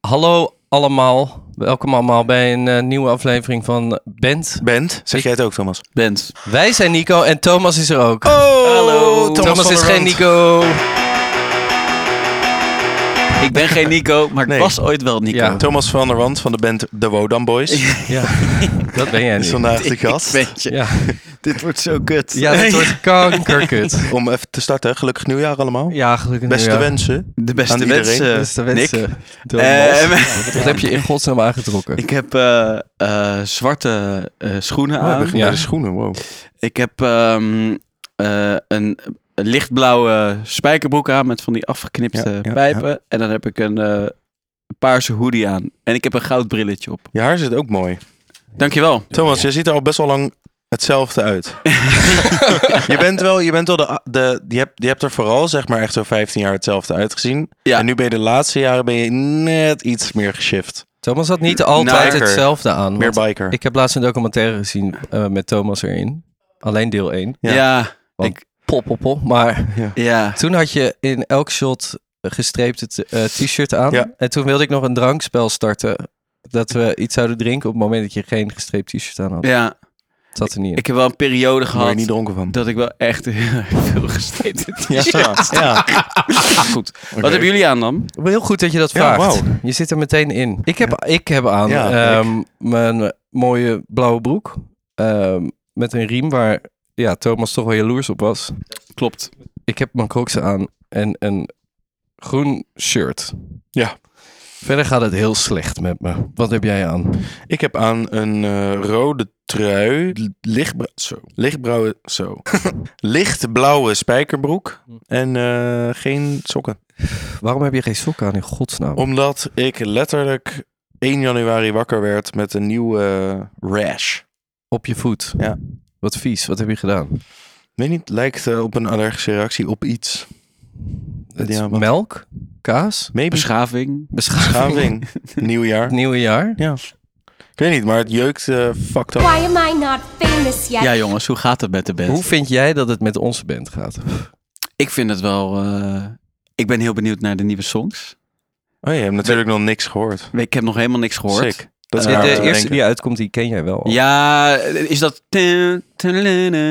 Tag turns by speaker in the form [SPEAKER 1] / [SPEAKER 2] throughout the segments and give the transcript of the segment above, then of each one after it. [SPEAKER 1] Hallo allemaal, welkom allemaal bij een eh, nieuwe aflevering van Bent.
[SPEAKER 2] Bent, zeg jij het ook, Thomas?
[SPEAKER 3] Bent.
[SPEAKER 1] Wij zijn Nico en Thomas is er ook.
[SPEAKER 2] Oh,
[SPEAKER 3] Hallo.
[SPEAKER 2] Thomas, van
[SPEAKER 1] is
[SPEAKER 2] der
[SPEAKER 1] geen
[SPEAKER 2] Rand.
[SPEAKER 1] Nico.
[SPEAKER 3] Ik ben geen Nico, maar
[SPEAKER 2] Nee.
[SPEAKER 3] ik was ooit wel Nico.
[SPEAKER 1] Ja.
[SPEAKER 2] Thomas van der Wand van de band The Wodan Boys
[SPEAKER 1] Ja, dat ben jij
[SPEAKER 2] is
[SPEAKER 1] niet.
[SPEAKER 2] vandaag de
[SPEAKER 3] Ik
[SPEAKER 2] gast.
[SPEAKER 3] weet je.
[SPEAKER 1] Ja,
[SPEAKER 3] Dit wordt zo kut.
[SPEAKER 1] ja dat wordt kankerkut.
[SPEAKER 2] Om even te starten, gelukkig nieuwjaar allemaal.
[SPEAKER 1] Ja, gelukkig
[SPEAKER 2] Beste
[SPEAKER 1] nieuwjaar.
[SPEAKER 2] wensen.
[SPEAKER 3] De
[SPEAKER 2] Aan
[SPEAKER 3] beste
[SPEAKER 2] iedereen.
[SPEAKER 3] wensen,
[SPEAKER 1] Beste
[SPEAKER 3] Nick.
[SPEAKER 1] wensen. Thomas.
[SPEAKER 3] Eh,
[SPEAKER 1] Wat heb je in godsnaam aangetrokken?
[SPEAKER 3] ik heb eh, eh, zwarte eh, schoenen
[SPEAKER 2] Oh, we
[SPEAKER 3] aan.
[SPEAKER 2] beginnen
[SPEAKER 1] Ja.
[SPEAKER 2] bij de schoenen, wow.
[SPEAKER 3] Ik heb ehm, eh, een lichtblauwe spijkerbroek aan met van die afgeknipte
[SPEAKER 2] Ja, ja,
[SPEAKER 3] pijpen. En dan heb ik een eh, paarse hoodie aan. En ik heb een goud brilletje op.
[SPEAKER 2] Je haar zit ook mooi.
[SPEAKER 3] Dankjewel.
[SPEAKER 2] Thomas, jij ziet er al best wel lang hetzelfde uit. je bent wel, je bent wel de, de je, hebt, je hebt er vooral zeg maar echt zo 15 jaar hetzelfde uitgezien.
[SPEAKER 3] Ja.
[SPEAKER 2] En nu ben je de laatste jaren ben je net iets meer geshift.
[SPEAKER 1] Thomas had niet altijd
[SPEAKER 2] Biker.
[SPEAKER 1] hetzelfde aan.
[SPEAKER 2] Meer
[SPEAKER 1] want
[SPEAKER 2] biker.
[SPEAKER 1] Ik heb laatst een documentaire gezien eh, met Thomas erin. Alleen deel 1.
[SPEAKER 2] Ja.
[SPEAKER 3] Ja,
[SPEAKER 1] Want-
[SPEAKER 3] ik,
[SPEAKER 1] Pop, pop, pop. Maar
[SPEAKER 3] ja.
[SPEAKER 1] Toen had je in elk shot gestreept het eh, t-shirt aan.
[SPEAKER 2] Ja.
[SPEAKER 1] En toen wilde ik nog een drankspel starten. Dat we iets zouden drinken op het moment dat je geen gestreept t-shirt aan had.
[SPEAKER 3] ja.
[SPEAKER 1] Dat zat er niet in.
[SPEAKER 3] Ik heb wel een periode
[SPEAKER 2] Daar word je
[SPEAKER 3] gehad
[SPEAKER 2] niet dronken van.
[SPEAKER 3] dat ik wel echt heel erg veel gesteed heb. Ah,
[SPEAKER 2] Ja, ja.
[SPEAKER 3] Goed. Wat hebben jullie aan dan?
[SPEAKER 1] Heel goed dat je dat
[SPEAKER 2] Ja,
[SPEAKER 1] vraagt.
[SPEAKER 2] wauw.
[SPEAKER 1] Je zit er meteen in. Ik heb, ik heb aan
[SPEAKER 2] Ja,
[SPEAKER 1] ehm, mijn mooie blauwe broek. ehm, met een riem waar ja, Thomas toch wel jaloers op was.
[SPEAKER 3] Klopt.
[SPEAKER 1] Ik heb mijn crocs aan en een groen shirt.
[SPEAKER 2] Ja.
[SPEAKER 1] Verder gaat het heel slecht met me. Wat heb jij aan?
[SPEAKER 2] Ik heb aan een eh, rode trui, l- lichtbra zo. lichtblauwe, zo. lichtblauwe spijkerbroek en eh, geen sokken.
[SPEAKER 1] Waarom heb je geen sokken aan in godsnaam?
[SPEAKER 2] Omdat ik letterlijk 1 januari wakker werd met een nieuwe eh, rash.
[SPEAKER 1] Op je voet.
[SPEAKER 2] Ja.
[SPEAKER 1] Wat vies, wat heb je gedaan?
[SPEAKER 2] Weet niet, lijkt eh, op een allergische reactie op iets.
[SPEAKER 1] Het is
[SPEAKER 2] Ja, wat-
[SPEAKER 1] melk, kaas,
[SPEAKER 2] Maybe
[SPEAKER 3] Beschaving.
[SPEAKER 1] beschaving,
[SPEAKER 2] beschaving. Nieuwjaar.
[SPEAKER 1] het nieuwe jaar.
[SPEAKER 2] Ja. Ik weet niet, maar het jeukt eh fucked up.
[SPEAKER 4] Why am I not famous yet?
[SPEAKER 3] Ja jongens, hoe gaat het met de band?
[SPEAKER 1] Hoe vind jij dat het met onze band gaat?
[SPEAKER 3] Ik vind het wel... eh, ik ben heel benieuwd naar de nieuwe songs.
[SPEAKER 2] Oh, je hebt natuurlijk nog niks gehoord.
[SPEAKER 3] Ik heb nog helemaal niks gehoord.
[SPEAKER 2] Sick. Dat is
[SPEAKER 1] de
[SPEAKER 2] raar om
[SPEAKER 1] de
[SPEAKER 2] te
[SPEAKER 1] eh, eerste
[SPEAKER 2] denken.
[SPEAKER 1] die uitkomt, die ken jij wel. al.
[SPEAKER 3] Ja, is dat... Ja,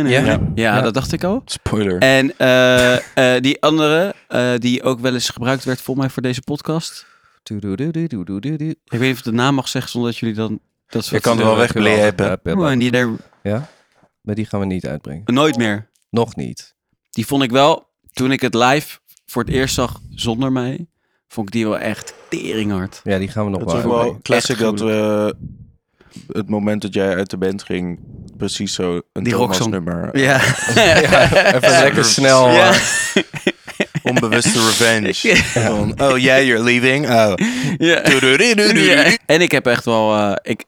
[SPEAKER 1] Ja. Ja.
[SPEAKER 3] dat dacht ik al.
[SPEAKER 2] Spoiler.
[SPEAKER 3] En eh, eh, die andere, eh, die ook wel eens gebruikt werd volgens mij voor deze podcast.
[SPEAKER 1] Doedoedoedoedoedoedoe.
[SPEAKER 3] Ik weet niet of ik de naam mag zeggen zonder dat jullie dan... Dat
[SPEAKER 2] Je kan het wel wegblepen.
[SPEAKER 3] Oh, en die daar
[SPEAKER 1] Maar die gaan we niet uitbrengen.
[SPEAKER 3] nooit meer.
[SPEAKER 1] Nog niet.
[SPEAKER 3] Die vond ik wel, toen ik het live voor het eerst zag zonder mij, vond ik die wel echt teringhard.
[SPEAKER 1] Ja, die gaan we nog
[SPEAKER 2] Dat is ook
[SPEAKER 1] wel
[SPEAKER 2] wel
[SPEAKER 1] uitbrengen.
[SPEAKER 2] classic
[SPEAKER 3] Echt
[SPEAKER 2] dat we het moment dat jij uit de band ging, precies zo een
[SPEAKER 3] Die
[SPEAKER 2] Thomas
[SPEAKER 3] rocksong.
[SPEAKER 2] nummer.
[SPEAKER 3] Ja.
[SPEAKER 1] Even lekker snel.
[SPEAKER 3] Ja.
[SPEAKER 1] eh,
[SPEAKER 2] Onbewuste revenge. Van, oh yeah, you're leaving. Oh.
[SPEAKER 3] Ja.
[SPEAKER 2] Tudurududu.
[SPEAKER 3] Ja. En ik heb echt wel, eh, ik,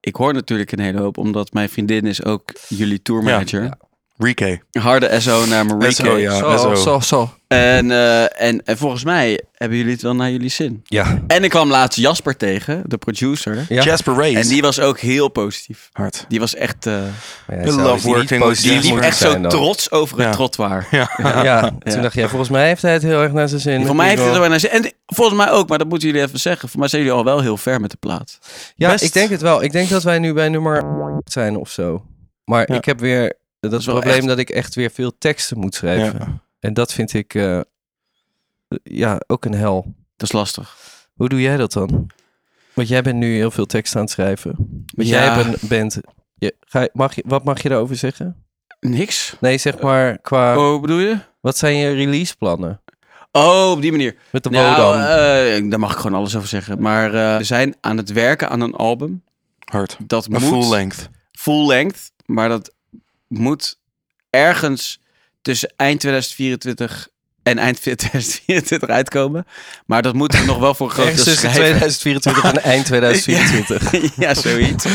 [SPEAKER 3] ik hoor natuurlijk een hele hoop, omdat mijn vriendin is ook jullie tourmanager.
[SPEAKER 1] Ja,
[SPEAKER 2] Rike.
[SPEAKER 3] Harde SO naar Marieke.
[SPEAKER 2] SO, ja.
[SPEAKER 1] Zo,
[SPEAKER 2] zo.
[SPEAKER 1] zo, zo.
[SPEAKER 3] en, eh, en, en volgens mij hebben jullie het wel naar jullie zin.
[SPEAKER 1] Ja.
[SPEAKER 3] En ik kwam laatst Jasper tegen, de producer.
[SPEAKER 1] Ja.
[SPEAKER 2] Jasper Race.
[SPEAKER 3] En die was ook heel positief.
[SPEAKER 2] hard.
[SPEAKER 3] Die was echt, eh,
[SPEAKER 1] Maar ja,
[SPEAKER 2] I
[SPEAKER 1] zou
[SPEAKER 2] love
[SPEAKER 1] het niet
[SPEAKER 2] working with
[SPEAKER 1] positief
[SPEAKER 2] you.
[SPEAKER 3] die liep
[SPEAKER 1] moeten
[SPEAKER 3] echt zo
[SPEAKER 1] zijn dan?
[SPEAKER 3] trots over het
[SPEAKER 2] Ja.
[SPEAKER 3] trottoir.
[SPEAKER 1] Ja, toen dacht jij, volgens mij heeft hij het heel erg naar zijn zin.
[SPEAKER 3] Voor mij heeft
[SPEAKER 1] Nico.
[SPEAKER 3] het er wel naar zin. En volgens mij ook, maar dat moeten jullie even zeggen. Voor mij zijn jullie al wel heel ver met de plaat.
[SPEAKER 1] Ja,
[SPEAKER 2] Best.
[SPEAKER 1] ik denk het wel. Ik denk dat wij nu bij nummer zijn of zo. Maar
[SPEAKER 2] Ja.
[SPEAKER 1] ik heb weer dat,
[SPEAKER 3] is wel
[SPEAKER 1] probleem
[SPEAKER 3] echt-
[SPEAKER 1] dat ik echt weer veel teksten moet schrijven. En dat vind ik eh, ja, ook een hel.
[SPEAKER 3] Dat is lastig.
[SPEAKER 1] Hoe doe jij dat dan? Want jij bent nu heel veel teksten aan het schrijven. Want
[SPEAKER 3] Ja.
[SPEAKER 1] jij bent... bent je, ga, je- mag je, wat mag je daarover zeggen?
[SPEAKER 3] Niks.
[SPEAKER 1] Nee, zeg maar qua...
[SPEAKER 3] Oh, bedoel je?
[SPEAKER 1] Wat zijn je releaseplannen?
[SPEAKER 3] Oh, op die manier.
[SPEAKER 1] Met de
[SPEAKER 3] Nou,
[SPEAKER 1] Wodan.
[SPEAKER 3] eh, daar mag ik gewoon alles over zeggen. Maar eh, we zijn aan het werken aan een album.
[SPEAKER 2] Hard.
[SPEAKER 3] Dat
[SPEAKER 2] Een
[SPEAKER 3] moet
[SPEAKER 2] full length.
[SPEAKER 3] full length, maar dat moet ergens tussen eind 2024 en eind 2024 uitkomen. Maar dat moet er nog wel voor een groot
[SPEAKER 1] Ergens
[SPEAKER 3] deel
[SPEAKER 1] tussen
[SPEAKER 3] schrijven.
[SPEAKER 1] 2024 en eind 2024.
[SPEAKER 3] ja, zoiets.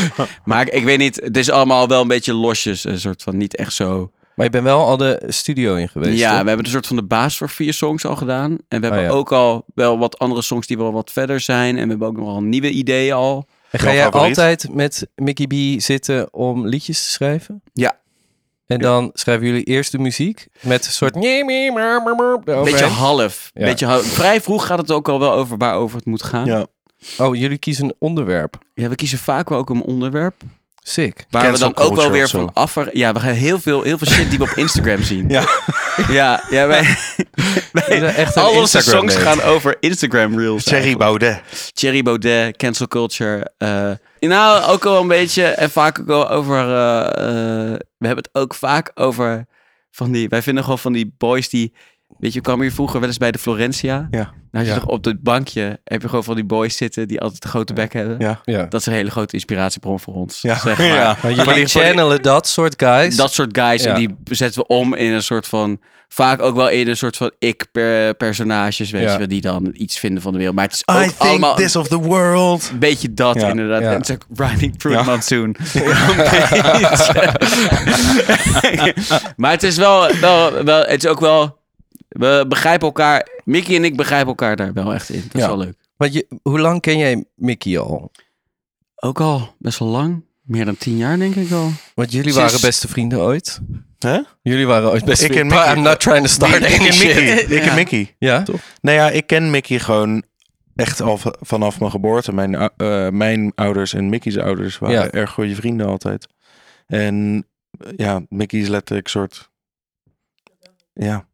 [SPEAKER 3] Maar ik, ik weet niet, het is allemaal wel een beetje losjes. Een soort van niet echt zo.
[SPEAKER 1] Maar je bent wel al de studio in geweest.
[SPEAKER 3] ja, we
[SPEAKER 1] toch?
[SPEAKER 3] hebben een soort van de baas voor vier songs al gedaan. En we hebben
[SPEAKER 1] ja.
[SPEAKER 3] ook al wel wat andere songs die wel wat verder zijn. En we hebben ook nogal nieuwe ideeën al.
[SPEAKER 1] En ga
[SPEAKER 2] Jouw
[SPEAKER 1] jij
[SPEAKER 2] favoriet?
[SPEAKER 1] altijd met Mickey B zitten om liedjes te schrijven?
[SPEAKER 3] Ja.
[SPEAKER 1] En dan schrijven jullie eerst de muziek met een soort...
[SPEAKER 3] Beetje
[SPEAKER 1] Beetje
[SPEAKER 3] half.
[SPEAKER 1] Ja.
[SPEAKER 3] Beetje half. Vrij vroeg gaat het ook al wel over waarover het moet gaan.
[SPEAKER 2] Ja.
[SPEAKER 1] Oh, jullie kiezen een onderwerp.
[SPEAKER 3] Ja, we kiezen vaak wel ook een onderwerp.
[SPEAKER 1] Sick.
[SPEAKER 3] Waar
[SPEAKER 2] Cancel
[SPEAKER 3] we dan ook wel
[SPEAKER 2] culture
[SPEAKER 3] weer
[SPEAKER 2] of zo.
[SPEAKER 3] van af... Ja, we gaan heel veel, heel veel shit die we op Instagram zien.
[SPEAKER 2] Ja.
[SPEAKER 3] Ja, ja wij...
[SPEAKER 1] Jullie zijn echt een
[SPEAKER 3] Al onze
[SPEAKER 2] Instagram date.
[SPEAKER 3] songs gaan over Instagram reels.
[SPEAKER 2] Thierry Baudet.
[SPEAKER 3] Thierry Baudet, cancel culture. eh. nou, ook al een beetje en vaak ook wel over. eh, eh, we hebben het ook vaak over van die. Wij vinden gewoon van die boys die. Weet je, we kwamen hier vroeger wel eens bij de Florentia.
[SPEAKER 2] Ja.
[SPEAKER 3] Nou, je
[SPEAKER 2] Ja.
[SPEAKER 3] toch op dat bankje heb je gewoon van die boys zitten die altijd een grote bek hebben.
[SPEAKER 2] Ja.
[SPEAKER 1] Ja.
[SPEAKER 3] Dat is een hele grote inspiratiebron voor ons.
[SPEAKER 2] Ja.
[SPEAKER 3] Zeg maar.
[SPEAKER 2] Ja.
[SPEAKER 1] Maar
[SPEAKER 3] Maar
[SPEAKER 1] jullie
[SPEAKER 3] die-
[SPEAKER 1] channelen dat soort guys.
[SPEAKER 3] Dat soort guys
[SPEAKER 1] Ja.
[SPEAKER 3] en die zetten we om in een soort van. Vaak ook wel in een soort van ik-personages, weet
[SPEAKER 1] Ja.
[SPEAKER 3] je wel, die dan iets vinden van de wereld. Maar het is ook allemaal een
[SPEAKER 2] of the world.
[SPEAKER 3] Een beetje dat
[SPEAKER 2] Ja,
[SPEAKER 3] inderdaad.
[SPEAKER 1] ja.
[SPEAKER 3] En het is ook Riding Through
[SPEAKER 2] Ja.
[SPEAKER 3] the Monsoon. Een beetje. maar het is wel, wel, wel, het is ook wel, we begrijpen elkaar, Mickey en ik begrijpen elkaar daar wel echt in. Dat is
[SPEAKER 1] Ja.
[SPEAKER 3] wel leuk.
[SPEAKER 1] Want je, hoe lang ken jij Mickey al?
[SPEAKER 3] Ook al best wel lang, meer dan tien jaar denk ik al.
[SPEAKER 1] Want jullie
[SPEAKER 3] Sinds-
[SPEAKER 1] waren beste vrienden ooit.
[SPEAKER 2] Hè?
[SPEAKER 1] Jullie waren ooit beste
[SPEAKER 2] Ik en
[SPEAKER 1] vrienden.
[SPEAKER 2] Mickey.
[SPEAKER 1] I'm not trying to start
[SPEAKER 2] Ik
[SPEAKER 1] any
[SPEAKER 2] en Mickey.
[SPEAKER 1] shit.
[SPEAKER 2] Ik en Mickey.
[SPEAKER 1] Ja?
[SPEAKER 2] Nou ja, ik ken Mickey gewoon echt al v- vanaf mijn geboorte. Mijn, ou- eh, mijn ouders en Mickey's ouders waren
[SPEAKER 1] Ja.
[SPEAKER 2] erg goede vrienden altijd. En eh, ja, Mickey is letterlijk soort... Ja.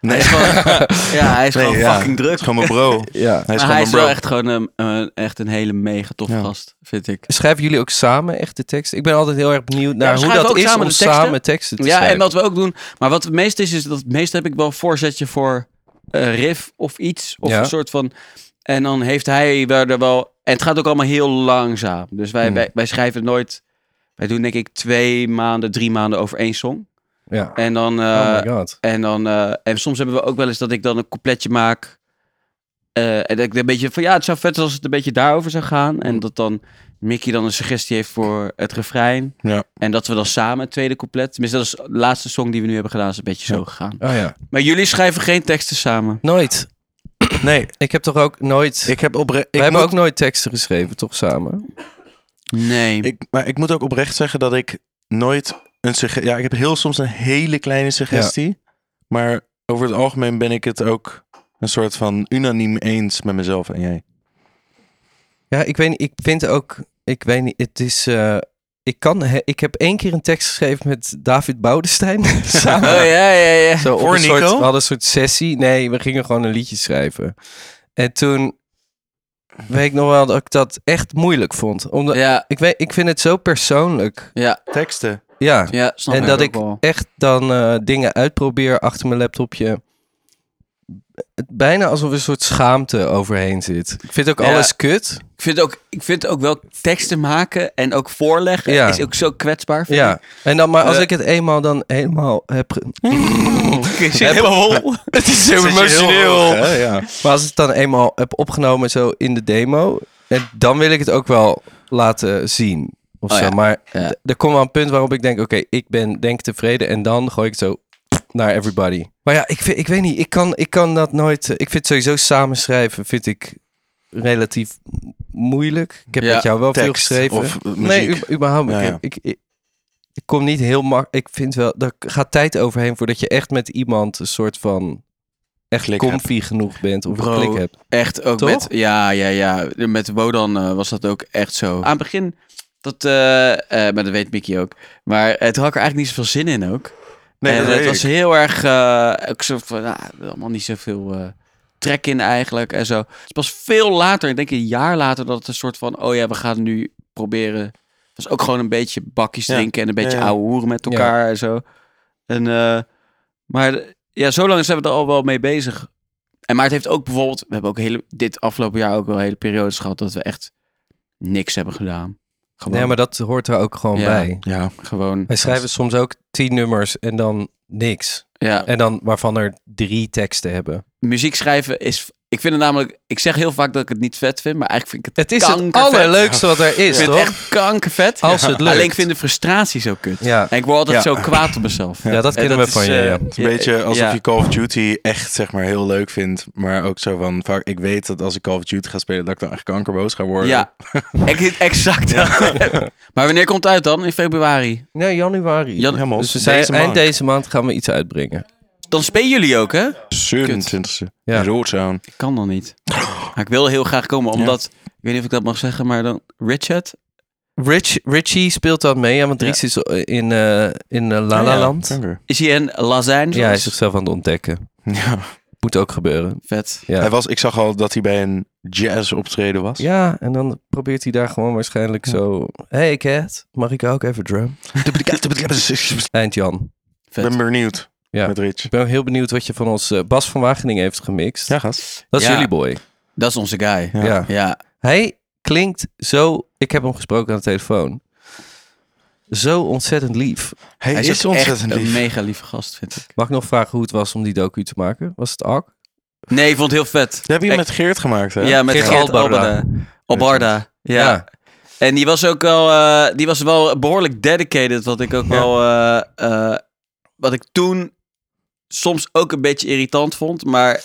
[SPEAKER 2] Nee,
[SPEAKER 3] Hij is gewoon, ja, hij is
[SPEAKER 2] Nee,
[SPEAKER 3] gewoon
[SPEAKER 2] ja.
[SPEAKER 3] fucking
[SPEAKER 2] het
[SPEAKER 3] druk.
[SPEAKER 2] is gewoon mijn bro.
[SPEAKER 1] Ja.
[SPEAKER 2] Hij is gewoon
[SPEAKER 3] maar hij
[SPEAKER 2] mijn
[SPEAKER 3] is
[SPEAKER 2] bro.
[SPEAKER 3] wel echt gewoon een, een- echt een hele mega toffe
[SPEAKER 2] Ja.
[SPEAKER 3] gast, vind ik.
[SPEAKER 1] Schrijven jullie ook samen echt de tekst? Ik ben altijd heel erg benieuwd
[SPEAKER 3] we
[SPEAKER 1] naar hoe
[SPEAKER 3] schrijven
[SPEAKER 1] dat
[SPEAKER 3] ook
[SPEAKER 1] is
[SPEAKER 3] samen
[SPEAKER 1] om
[SPEAKER 3] de teksten.
[SPEAKER 1] samen teksten te
[SPEAKER 3] Ja,
[SPEAKER 1] schrijven.
[SPEAKER 3] en wat we ook doen. Maar wat het meest is, is dat het meest heb ik wel een voorzetje voor eh, riff of iets. Of
[SPEAKER 1] Ja.
[SPEAKER 3] een soort van... En dan heeft hij daar er wel... En het gaat ook allemaal heel langzaam. Dus wij,
[SPEAKER 1] Hmm.
[SPEAKER 3] wij, wij schrijven nooit... Wij doen denk ik twee maanden, drie maanden over één song.
[SPEAKER 1] Ja.
[SPEAKER 3] En dan... eh,
[SPEAKER 1] Oh my god.
[SPEAKER 3] en, dan eh, en soms hebben we ook wel eens dat ik dan een coupletje maak. eh, en dat ik een beetje van ja, het zou vet zijn als het een beetje daarover zou gaan.
[SPEAKER 1] Mm.
[SPEAKER 3] En dat dan Mickey dan een suggestie heeft voor het refrein.
[SPEAKER 2] Ja.
[SPEAKER 3] En dat we dan samen het tweede couplet. Tenminste, dat is de laatste song die we nu hebben gedaan. Is een beetje zo gegaan.
[SPEAKER 1] Oh ja.
[SPEAKER 3] Maar jullie schrijven geen teksten samen.
[SPEAKER 1] Nooit.
[SPEAKER 2] Nee,
[SPEAKER 1] Ik heb toch ook nooit...
[SPEAKER 2] ik heb opre-
[SPEAKER 1] we
[SPEAKER 2] ik
[SPEAKER 1] hebben
[SPEAKER 2] moet-
[SPEAKER 1] ook nooit teksten geschreven, toch samen?
[SPEAKER 3] Nee.
[SPEAKER 2] Ik, maar ik moet ook oprecht zeggen dat ik nooit een suggestie. Ja, ik heb heel soms een hele kleine suggestie. Maar over het algemeen ben ik het ook een soort van unaniem eens met mezelf en jij.
[SPEAKER 1] Ja, ik weet niet, ik vind ook, ik weet niet, het is, eh, ik kan, he- ik heb één keer een tekst geschreven met David Boudestein samen.
[SPEAKER 3] Oh ja, ja, ja.
[SPEAKER 1] Zo op
[SPEAKER 2] Voor
[SPEAKER 1] een Soort,
[SPEAKER 2] Nico?
[SPEAKER 1] we hadden een soort sessie. Nee, we gingen gewoon een liedje schrijven. En toen weet ik nog wel dat ik dat echt moeilijk vond. Omdat,
[SPEAKER 3] Ja,
[SPEAKER 1] ik, weet, ik vind het zo persoonlijk.
[SPEAKER 3] ja,
[SPEAKER 2] Teksten.
[SPEAKER 1] Ja.
[SPEAKER 3] ja. Snap
[SPEAKER 1] en dat ik
[SPEAKER 3] ook wel.
[SPEAKER 1] echt dan eh, dingen uitprobeer achter mijn laptopje. Het- Bijna alsof er een soort schaamte overheen zit. Ik vind ook
[SPEAKER 3] Ja.
[SPEAKER 1] alles kut.
[SPEAKER 3] Ik vind, ook, ik vind ook wel teksten maken en ook voorleggen
[SPEAKER 1] Ja.
[SPEAKER 3] is ook zo kwetsbaar. vind
[SPEAKER 1] Ja,
[SPEAKER 3] ik.
[SPEAKER 1] en dan, maar als
[SPEAKER 3] Eh.
[SPEAKER 1] ik het eenmaal dan helemaal heb... ge-
[SPEAKER 3] Ik zit helemaal vol.
[SPEAKER 1] het is heel
[SPEAKER 2] Zit je Oh. heel hoog, hè? ja.
[SPEAKER 1] Maar als ik het dan eenmaal heb opgenomen zo in de demo... En dan wil ik het ook wel laten zien. Of
[SPEAKER 3] Oh
[SPEAKER 1] zo.
[SPEAKER 3] ja,
[SPEAKER 1] Maar
[SPEAKER 3] ja.
[SPEAKER 1] d- er komt wel een punt waarop ik denk... Oké, ik ben denk tevreden. En dan gooi ik het zo naar everybody. Maar ja, ik, vind, ik weet niet. Ik kan, ik kan dat nooit... eh, Ik vind sowieso samenschrijven vind ik relatief moeilijk. Ik heb
[SPEAKER 3] Ja,
[SPEAKER 1] met jou wel veel
[SPEAKER 2] tekst
[SPEAKER 1] geschreven.
[SPEAKER 2] of, eh,
[SPEAKER 1] nee,
[SPEAKER 2] muziek.
[SPEAKER 1] u- überhaupt.
[SPEAKER 2] Ja,
[SPEAKER 1] ik,
[SPEAKER 2] ja.
[SPEAKER 1] Ik, ik, ik kom niet heel makkelijk. Ik vind wel, daar gaat tijd overheen voordat je echt met iemand een soort van echt
[SPEAKER 2] Klik
[SPEAKER 1] comfy genoeg bent of
[SPEAKER 3] Bro.
[SPEAKER 1] een klik hebt.
[SPEAKER 3] Echt ook
[SPEAKER 1] Toch?
[SPEAKER 3] met. Ja, ja, ja. Met Wodan eh, was dat ook echt zo. Aan het begin, dat, eh, eh, maar dat weet Mickey ook. Maar het toen had ik er eigenlijk niet zoveel zin in ook.
[SPEAKER 2] Nee,
[SPEAKER 3] en
[SPEAKER 2] dat
[SPEAKER 3] het
[SPEAKER 2] weet
[SPEAKER 3] was
[SPEAKER 2] ik.
[SPEAKER 3] heel erg. eh ook zo van, nou, allemaal niet zoveel eh, trek in eigenlijk en zo. Het is pas veel later, ik denk een jaar later, dat het een soort van: oh ja, we gaan nu proberen. Het was ook gewoon een beetje bakjes
[SPEAKER 2] Ja.
[SPEAKER 3] drinken en een beetje
[SPEAKER 2] Ja, ja.
[SPEAKER 3] ouwe hoeren met elkaar en zo. En, eh, maar ja, zo lang zijn we er al wel mee bezig. En maar het heeft ook bijvoorbeeld, we hebben ook hele, dit afgelopen jaar ook wel hele periodes gehad dat we echt niks hebben gedaan. Gewoon,
[SPEAKER 1] Nee, maar dat hoort er ook gewoon
[SPEAKER 3] Ja.
[SPEAKER 1] bij.
[SPEAKER 2] Ja.
[SPEAKER 3] gewoon
[SPEAKER 1] Wij schrijven soms ook tien nummers en dan niks.
[SPEAKER 3] ja,
[SPEAKER 1] En dan waarvan er drie teksten hebben.
[SPEAKER 3] muziek schrijven is. Ik vind het namelijk. Ik zeg heel vaak dat ik het niet vet vind, maar eigenlijk vind ik het.
[SPEAKER 1] Het is het
[SPEAKER 3] kankervet.
[SPEAKER 1] allerleukste wat er
[SPEAKER 3] Ik
[SPEAKER 1] is,
[SPEAKER 3] vind
[SPEAKER 1] toch?
[SPEAKER 3] het echt kankervet.
[SPEAKER 1] Als het lukt.
[SPEAKER 3] Alleen ik vind de frustratie zo kut.
[SPEAKER 1] Ja.
[SPEAKER 3] En ik word altijd
[SPEAKER 2] Ja.
[SPEAKER 3] zo kwaad op mezelf.
[SPEAKER 1] Ja, dat
[SPEAKER 3] En
[SPEAKER 1] kennen we
[SPEAKER 3] is,
[SPEAKER 1] van je,
[SPEAKER 3] eh,
[SPEAKER 1] ja.
[SPEAKER 2] Het is een beetje alsof
[SPEAKER 3] ja.
[SPEAKER 2] je Call of Duty echt zeg maar heel leuk vindt. Maar ook zo van, vaak, ik weet dat als ik Call of Duty ga spelen, dat ik dan echt kankerboos ga worden.
[SPEAKER 3] Ja, Ex- exact. maar wanneer komt het uit dan? In februari.
[SPEAKER 1] Nee, januari.
[SPEAKER 3] Jan-
[SPEAKER 2] helemaal.
[SPEAKER 1] dus we zijn,
[SPEAKER 2] Deze
[SPEAKER 1] eind
[SPEAKER 2] maand.
[SPEAKER 1] deze maand gaan we iets uitbrengen.
[SPEAKER 3] Dan spelen jullie ook, hè?
[SPEAKER 2] 27e.
[SPEAKER 1] Ja.
[SPEAKER 2] Ja. Roodzoon.
[SPEAKER 3] Ik kan dan niet. Maar ik wil heel graag komen, omdat Ik weet niet of ik dat mag zeggen, maar dan Richard.
[SPEAKER 1] Rich, Richie speelt dat mee, ja, want
[SPEAKER 3] Ja.
[SPEAKER 1] Dries is in, eh, in eh, La La
[SPEAKER 2] Ja,
[SPEAKER 1] Land. Ja,
[SPEAKER 2] kanker.
[SPEAKER 3] Is hij in Los Angeles?
[SPEAKER 1] hij is zichzelf aan het ontdekken.
[SPEAKER 2] Ja.
[SPEAKER 1] Moet ook gebeuren.
[SPEAKER 3] Vet.
[SPEAKER 1] Ja.
[SPEAKER 2] Hij was, ik zag al dat hij bij een jazz optreden was.
[SPEAKER 1] Ja, en dan probeert hij daar gewoon waarschijnlijk zo... Hey cat, mag ik ook even drum?
[SPEAKER 2] Ik
[SPEAKER 1] Eind Jan.
[SPEAKER 3] Vet.
[SPEAKER 2] ben benieuwd
[SPEAKER 1] Ja.
[SPEAKER 2] met Rich.
[SPEAKER 1] Ik ben ook heel benieuwd wat je van ons... eh, Bas van Wageningen heeft gemixt.
[SPEAKER 2] Ja, gast.
[SPEAKER 1] Dat is
[SPEAKER 3] Ja.
[SPEAKER 1] jullie boy.
[SPEAKER 3] Dat is onze guy.
[SPEAKER 2] Ja.
[SPEAKER 1] ja.
[SPEAKER 3] Ja.
[SPEAKER 1] Hij klinkt zo... Ik heb hem gesproken aan de telefoon. Zo ontzettend lief.
[SPEAKER 2] Hij,
[SPEAKER 3] Hij
[SPEAKER 2] is,
[SPEAKER 3] is, ook
[SPEAKER 2] ontzettend
[SPEAKER 3] echt
[SPEAKER 2] lief.
[SPEAKER 3] een mega lieve gast, vind ik.
[SPEAKER 1] Mag ik nog vragen hoe het was om die docu te maken? Was het ak?
[SPEAKER 3] Nee, ik vond het heel vet.
[SPEAKER 2] Dat heb je
[SPEAKER 3] Ik-
[SPEAKER 2] met Geert gemaakt, hè?
[SPEAKER 3] Ja, met
[SPEAKER 1] Geert
[SPEAKER 3] Geert,
[SPEAKER 1] Albarda.
[SPEAKER 3] Albarda. Albarda, ja. En die was ook wel, eh, die was wel behoorlijk dedicated, wat ik ook wel, eh, eh, wat ik toen soms ook een beetje irritant vond, maar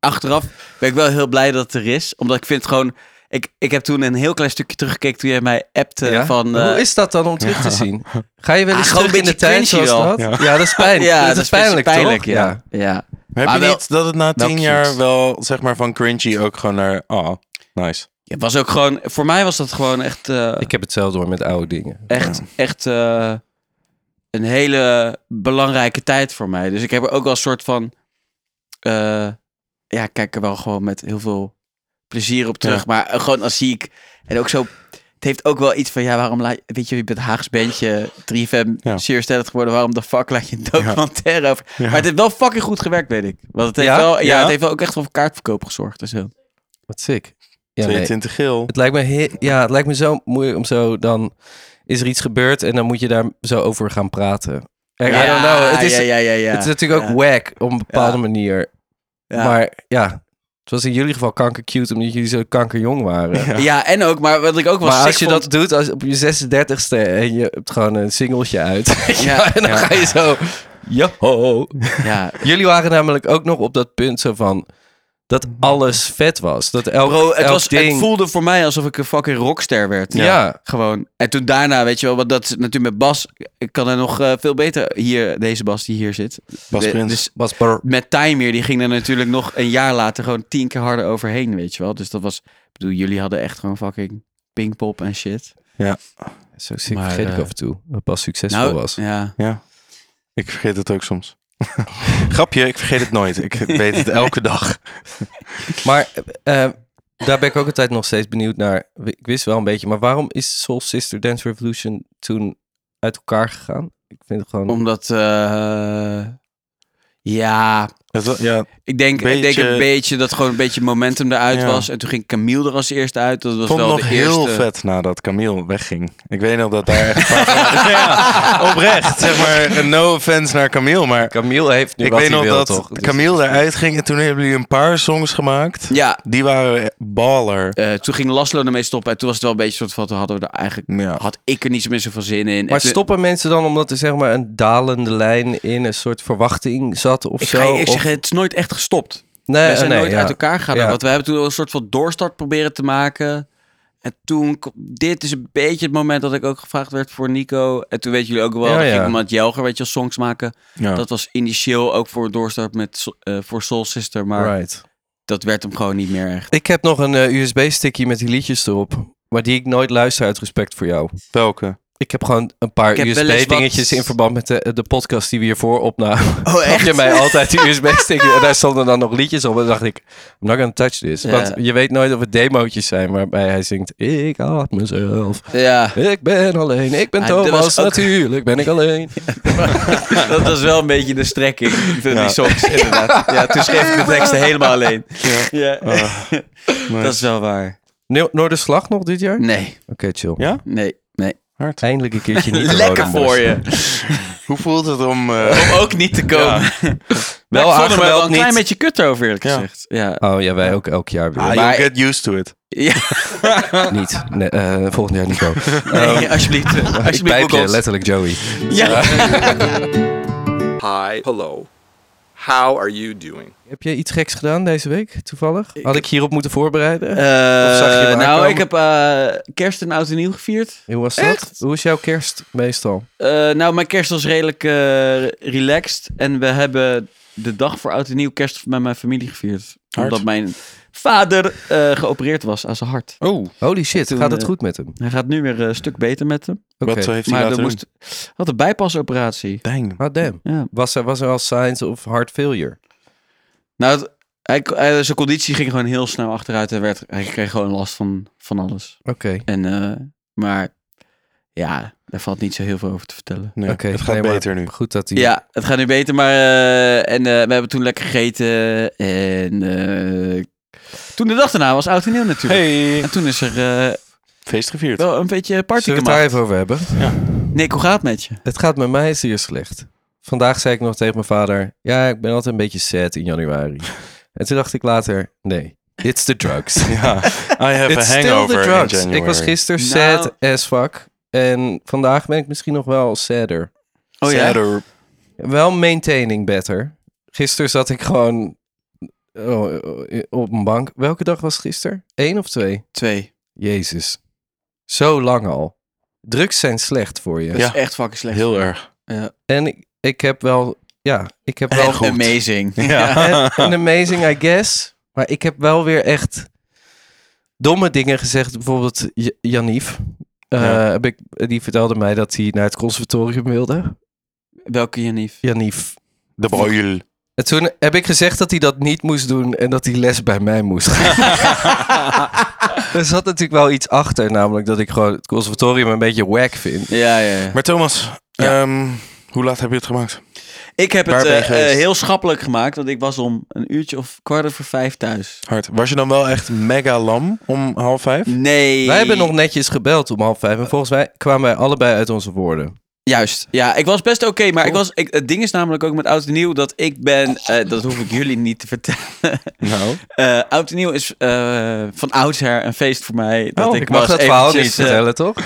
[SPEAKER 3] achteraf ben ik wel heel blij dat het er is, omdat ik vind het gewoon, ik, ik heb toen een heel klein stukje teruggekeken toen jij mij appte
[SPEAKER 1] Ja?
[SPEAKER 3] van, eh,
[SPEAKER 1] Hoe is dat dan om terug te zien? Ga je wel
[SPEAKER 3] Ah,
[SPEAKER 1] eens
[SPEAKER 3] gewoon
[SPEAKER 1] terug
[SPEAKER 3] een
[SPEAKER 1] in de
[SPEAKER 3] beetje
[SPEAKER 1] tijd
[SPEAKER 3] cringy
[SPEAKER 1] zoals dat?
[SPEAKER 2] wel.
[SPEAKER 1] Ja. dat is pijnlijk.
[SPEAKER 3] ja,
[SPEAKER 1] dat, is pijnlijk, toch?
[SPEAKER 3] ja. ja.
[SPEAKER 2] Maar heb
[SPEAKER 3] Maar
[SPEAKER 2] je
[SPEAKER 3] wel-
[SPEAKER 2] niet dat het na
[SPEAKER 3] wel
[SPEAKER 2] tien
[SPEAKER 3] cute.
[SPEAKER 2] jaar wel, zeg maar, van cringy ook gewoon naar... Oh, nice.
[SPEAKER 3] Ja, Het was ook gewoon, voor mij was dat gewoon echt, eh,
[SPEAKER 1] Ik heb hetzelfde hoor met oude dingen.
[SPEAKER 3] echt, echt eh, een hele belangrijke tijd voor mij. Dus ik heb er ook wel een soort van. eh, ja, ik kijk er wel gewoon met heel veel plezier op terug.
[SPEAKER 2] Ja.
[SPEAKER 3] Maar eh, gewoon als zie ik. En ook zo. Het heeft ook wel iets van. Ja, waarom laat je. Weet je, je bent Haags bandje. 3FM.
[SPEAKER 2] Ja.
[SPEAKER 3] Serious Talent geworden. Waarom de fuck laat je een documentaire over.
[SPEAKER 2] Ja.
[SPEAKER 3] Maar het heeft wel fucking goed gewerkt, weet ik. Want het heeft,
[SPEAKER 1] Ja?
[SPEAKER 3] Wel, ja,
[SPEAKER 1] Ja?
[SPEAKER 3] het heeft wel ook echt voor kaartverkoop gezorgd. Dus heel.
[SPEAKER 1] Wat sick. Ja, nee.
[SPEAKER 2] 22 geel.
[SPEAKER 1] Het lijkt me, he- ja, het lijkt me zo moeilijk om zo dan is er iets gebeurd en dan moet je daar zo over gaan praten. En I don't know. Het is,
[SPEAKER 3] ja, ja, ja, ja.
[SPEAKER 1] het is natuurlijk ook
[SPEAKER 3] Ja.
[SPEAKER 1] whack op een bepaalde
[SPEAKER 3] Ja.
[SPEAKER 1] manier.
[SPEAKER 3] Ja.
[SPEAKER 1] Maar ja, het was in jullie geval kanker cute omdat jullie zo kankerjong waren.
[SPEAKER 3] ja. en ook, maar wat ik ook wel
[SPEAKER 1] Maar
[SPEAKER 3] sick
[SPEAKER 1] als je
[SPEAKER 3] vond-
[SPEAKER 1] dat doet als op je 36ste en je hebt gewoon een singeltje uit.
[SPEAKER 3] Ja.
[SPEAKER 1] ja, en dan ga je zo. Yo.
[SPEAKER 3] Ja,
[SPEAKER 1] Jullie waren namelijk ook nog op dat punt zo van dat alles vet was. Dat elk,
[SPEAKER 3] Bro, het,
[SPEAKER 1] elk
[SPEAKER 3] was,
[SPEAKER 1] ding.
[SPEAKER 3] het voelde voor mij alsof ik een fucking rockster werd.
[SPEAKER 1] ja.
[SPEAKER 3] Gewoon. En toen daarna, weet je wel, want dat is natuurlijk met Bas. Ik kan er nog eh, veel beter hier, deze Bas die hier zit.
[SPEAKER 2] Bas
[SPEAKER 3] De-
[SPEAKER 2] Prins.
[SPEAKER 3] Dus
[SPEAKER 1] was bar.
[SPEAKER 3] met Timer, die ging er natuurlijk nog een jaar later gewoon tien keer harder overheen, weet je wel. Dus dat was, ik bedoel, jullie hadden echt gewoon fucking pingpop en shit.
[SPEAKER 1] Zo ziek
[SPEAKER 3] Maar,
[SPEAKER 1] vergeet ik
[SPEAKER 3] eh, nou,
[SPEAKER 1] af en toe. Dat pas succesvol was.
[SPEAKER 3] ja.
[SPEAKER 2] Ja. Ik vergeet het ook soms. Grapje, ik vergeet het nooit. Ik weet het elke dag.
[SPEAKER 1] Maar eh, eh, daar ben ik ook altijd nog steeds benieuwd naar. Ik wist wel een beetje, maar waarom is Soul Sister Dance Revolution toen uit elkaar gegaan? Ik vind het gewoon.
[SPEAKER 3] Omdat, eh, ja,
[SPEAKER 2] Het wa- ja,
[SPEAKER 3] ik denk, ik denk
[SPEAKER 2] Beetje-
[SPEAKER 3] een beetje dat gewoon een beetje momentum eruit
[SPEAKER 2] Ja.
[SPEAKER 3] was. En toen ging Camille er als eerste uit. Dat was
[SPEAKER 2] vond het
[SPEAKER 3] wel
[SPEAKER 2] nog
[SPEAKER 3] de
[SPEAKER 2] heel
[SPEAKER 3] eerste.
[SPEAKER 2] vet nadat Camille wegging. Ik weet nog dat daar echt... ja, oprecht. Zeg maar, no offense naar Camille, maar...
[SPEAKER 1] Camille heeft nu
[SPEAKER 2] Ik
[SPEAKER 1] wat
[SPEAKER 2] weet
[SPEAKER 1] hij
[SPEAKER 2] nog
[SPEAKER 1] wil,
[SPEAKER 2] dat
[SPEAKER 1] toch? Dus-
[SPEAKER 2] Camille eruit ging en toen hebben jullie een paar songs gemaakt.
[SPEAKER 3] Ja,
[SPEAKER 2] Die waren baller.
[SPEAKER 3] Eh, toen ging Laszlo ermee stoppen. En toen was het wel een beetje soort van, toen hadden we er eigenlijk,
[SPEAKER 2] Ja.
[SPEAKER 3] had ik er niet zo meer zoveel zin in. En
[SPEAKER 1] Maar
[SPEAKER 3] toen-
[SPEAKER 1] stoppen mensen dan omdat er zeg maar een dalende lijn in een soort verwachting zat of
[SPEAKER 3] Ik
[SPEAKER 1] zo?
[SPEAKER 3] ga je eerlijk
[SPEAKER 1] Of-
[SPEAKER 3] zeggen, het is nooit echt gestopt.
[SPEAKER 1] nee,
[SPEAKER 3] we zijn
[SPEAKER 1] nee,
[SPEAKER 3] nooit
[SPEAKER 1] ja.
[SPEAKER 3] uit elkaar gegaan.
[SPEAKER 1] Ja.
[SPEAKER 3] Want we hebben toen wel een soort van doorstart proberen te maken. En toen, kom- dit is een beetje het moment dat ik ook gevraagd werd voor Nico. En toen weten jullie ook wel,
[SPEAKER 1] Ja,
[SPEAKER 3] dat
[SPEAKER 1] ja.
[SPEAKER 3] ging iemand Jelger, weet je, wel, songs maken.
[SPEAKER 2] Ja.
[SPEAKER 3] Dat was initieel ook voor doorstart met, so- eh, voor Soul Sister. Maar
[SPEAKER 1] Right.
[SPEAKER 3] dat werd hem gewoon niet meer echt.
[SPEAKER 1] Ik heb nog een eh, USB-stickje met die liedjes erop. Maar die ik nooit luister uit respect voor jou.
[SPEAKER 2] Welke?
[SPEAKER 1] Ik heb gewoon een paar
[SPEAKER 3] Ik heb wel eens
[SPEAKER 1] USB-dingetjes
[SPEAKER 3] wat-
[SPEAKER 1] in verband met de, de podcast die we hiervoor opnamen.
[SPEAKER 3] Oh,
[SPEAKER 1] Heb je mij altijd die USB-stickje en daar stonden dan nog liedjes op. En dan dacht ik, I'm not gonna touch this.
[SPEAKER 3] Ja.
[SPEAKER 1] Want je weet nooit of het demootjes zijn waarbij hij zingt... Ik haat mezelf,
[SPEAKER 3] Ja.
[SPEAKER 1] ik ben alleen, ik ben
[SPEAKER 3] Ah, dat was
[SPEAKER 1] Thomas,
[SPEAKER 3] ook-
[SPEAKER 1] natuurlijk ben ik alleen.
[SPEAKER 3] Dat was wel een beetje de strekking van die songs, inderdaad. Ja, toen schreef ik de teksten helemaal alleen. Ja.
[SPEAKER 1] Ah,
[SPEAKER 3] Dat is wel waar.
[SPEAKER 1] Noor- Noorderslag nog dit jaar?
[SPEAKER 3] Nee,
[SPEAKER 1] Oké, chill.
[SPEAKER 2] Ja?
[SPEAKER 3] nee, nee.
[SPEAKER 2] Hard.
[SPEAKER 1] Eindelijk een keertje niet de
[SPEAKER 3] Lekker
[SPEAKER 1] Rodenbos.
[SPEAKER 3] voor je.
[SPEAKER 2] Hoe voelt het om... eh,
[SPEAKER 3] Om ook niet te
[SPEAKER 2] Ja.
[SPEAKER 3] komen. Wel
[SPEAKER 1] Wel
[SPEAKER 3] ik vond hem wel
[SPEAKER 1] aangemeld
[SPEAKER 3] een klein
[SPEAKER 1] niet.
[SPEAKER 3] beetje kut over, eerlijk
[SPEAKER 2] Ja.
[SPEAKER 3] gezegd. Ja.
[SPEAKER 1] Oh ja, wij ook elk jaar weer.
[SPEAKER 2] ah,
[SPEAKER 3] Maar-
[SPEAKER 2] you'll get used to it.
[SPEAKER 3] ja.
[SPEAKER 1] Niet. Nee, eh, volgend jaar niet komen.
[SPEAKER 3] Nee, alsjeblieft.
[SPEAKER 1] Ik
[SPEAKER 3] Alsjeblieft,
[SPEAKER 1] pijp
[SPEAKER 3] boek
[SPEAKER 1] je,
[SPEAKER 3] ons.
[SPEAKER 1] letterlijk Joey.
[SPEAKER 3] Ja.
[SPEAKER 5] Hi. Hello. How are you doing?
[SPEAKER 1] Heb je iets geks gedaan deze week, toevallig? Had ik hierop moeten voorbereiden?
[SPEAKER 3] Eh,
[SPEAKER 1] Of zag je hem
[SPEAKER 3] nou,
[SPEAKER 1] aankomen?
[SPEAKER 3] ik heb eh, kerst en oud en nieuw gevierd.
[SPEAKER 1] Hoe was dat? Hoe is jouw kerst meestal?
[SPEAKER 3] Eh, nou, mijn kerst was redelijk eh, relaxed. En we hebben de dag voor oud en nieuw kerst met mijn familie gevierd.
[SPEAKER 2] Hard.
[SPEAKER 3] Omdat mijn vader eh, geopereerd was aan zijn hart.
[SPEAKER 2] Oh,
[SPEAKER 1] Holy shit,
[SPEAKER 3] Toen,
[SPEAKER 1] gaat het
[SPEAKER 3] eh,
[SPEAKER 1] goed met hem?
[SPEAKER 3] Hij gaat nu weer eh, een stuk beter met hem.
[SPEAKER 1] Oké.
[SPEAKER 2] wat heeft hij
[SPEAKER 3] Maar er
[SPEAKER 2] laten
[SPEAKER 3] moest, had een bijpasoperatie.
[SPEAKER 2] doen? Dang.
[SPEAKER 1] Ah, damn.
[SPEAKER 3] Ja.
[SPEAKER 1] Was er, was er al signs of heart failure?
[SPEAKER 3] Nou, het- hij, hij- zijn conditie ging gewoon heel snel achteruit. En werd, hij kreeg gewoon last van, van alles.
[SPEAKER 1] Oké.
[SPEAKER 3] En, eh, maar ja, daar valt niet zo heel veel over te vertellen.
[SPEAKER 2] Nee,
[SPEAKER 1] Oké,
[SPEAKER 2] het gaat
[SPEAKER 1] nee, maar-
[SPEAKER 2] beter nu.
[SPEAKER 1] Goed dat hij...
[SPEAKER 3] Ja, het gaat nu beter, maar... eh, en eh, we hebben toen lekker gegeten. En eh, toen de dag daarna was oud en nieuw natuurlijk.
[SPEAKER 2] Hey.
[SPEAKER 3] En toen is er eh,
[SPEAKER 2] Feest gevierd.
[SPEAKER 3] wel een beetje party
[SPEAKER 1] Zullen we het daar
[SPEAKER 3] gemaakt.
[SPEAKER 1] even over hebben?
[SPEAKER 3] Nick, hoe gaat het met je?
[SPEAKER 1] Het gaat met mij zeer slecht. Vandaag zei ik nog tegen mijn vader... Ja, ik ben altijd een beetje sad in januari. en toen dacht ik later... Nee, it's the drugs.
[SPEAKER 2] Ja, I have
[SPEAKER 1] It's
[SPEAKER 2] a
[SPEAKER 1] still
[SPEAKER 2] hangover
[SPEAKER 1] the
[SPEAKER 2] in
[SPEAKER 1] drugs.
[SPEAKER 2] January.
[SPEAKER 1] Ik was gisteren
[SPEAKER 3] Nou.
[SPEAKER 1] sad as fuck. En vandaag ben ik misschien nog wel sadder.
[SPEAKER 3] Oh ja?
[SPEAKER 2] Sadder.
[SPEAKER 1] Wel maintaining better. Gisteren zat ik gewoon oh, op een bank. Welke dag was het gisteren? Eén of twee?
[SPEAKER 3] Twee.
[SPEAKER 1] Jezus. Zo lang al. Drugs zijn slecht voor je.
[SPEAKER 3] Dat
[SPEAKER 2] Ja.
[SPEAKER 3] is echt fucking slecht.
[SPEAKER 2] Heel erg.
[SPEAKER 1] En ik, ik heb wel... Ja, ik heb wel...
[SPEAKER 3] En amazing.
[SPEAKER 1] En- en amazing, I guess. Maar ik heb wel weer echt domme dingen gezegd. Bijvoorbeeld J- Janief. Eh,
[SPEAKER 2] Ja.
[SPEAKER 1] heb ik, die vertelde mij dat hij naar het conservatorium wilde.
[SPEAKER 3] Welke Janief?
[SPEAKER 1] Janief.
[SPEAKER 2] De boil.
[SPEAKER 1] En toen heb ik gezegd dat hij dat niet moest doen en dat hij les bij mij moest gaan. er zat natuurlijk wel iets achter, namelijk dat ik gewoon het conservatorium een beetje wack vind.
[SPEAKER 3] Ja, ja, ja.
[SPEAKER 2] Maar Thomas,
[SPEAKER 3] Ja.
[SPEAKER 2] ehm, hoe laat heb je het gemaakt?
[SPEAKER 3] Ik heb
[SPEAKER 2] Waar
[SPEAKER 3] het
[SPEAKER 2] ben je
[SPEAKER 3] eh,
[SPEAKER 2] geweest?
[SPEAKER 3] eh, heel schappelijk gemaakt, want ik was om een uurtje of kwart over vijf thuis.
[SPEAKER 2] Hard. Was je dan wel echt mega lam om half vijf?
[SPEAKER 3] Nee.
[SPEAKER 1] Wij hebben nog netjes gebeld om half vijf en volgens mij kwamen wij allebei uit onze woorden.
[SPEAKER 3] Juist. Ja, ik was best oké, maar ik was, ik, het ding is namelijk ook met Oud en Nieuw dat ik ben... eh, dat hoef ik jullie niet te vertellen.
[SPEAKER 2] Nou.
[SPEAKER 3] Eh Oud en Nieuw is eh, van oudsher een feest voor mij. Dat
[SPEAKER 1] Oh,
[SPEAKER 3] ik
[SPEAKER 1] ik mag
[SPEAKER 3] was
[SPEAKER 1] dat verhaal niet
[SPEAKER 3] eventjes, eh,
[SPEAKER 1] vertellen, toch?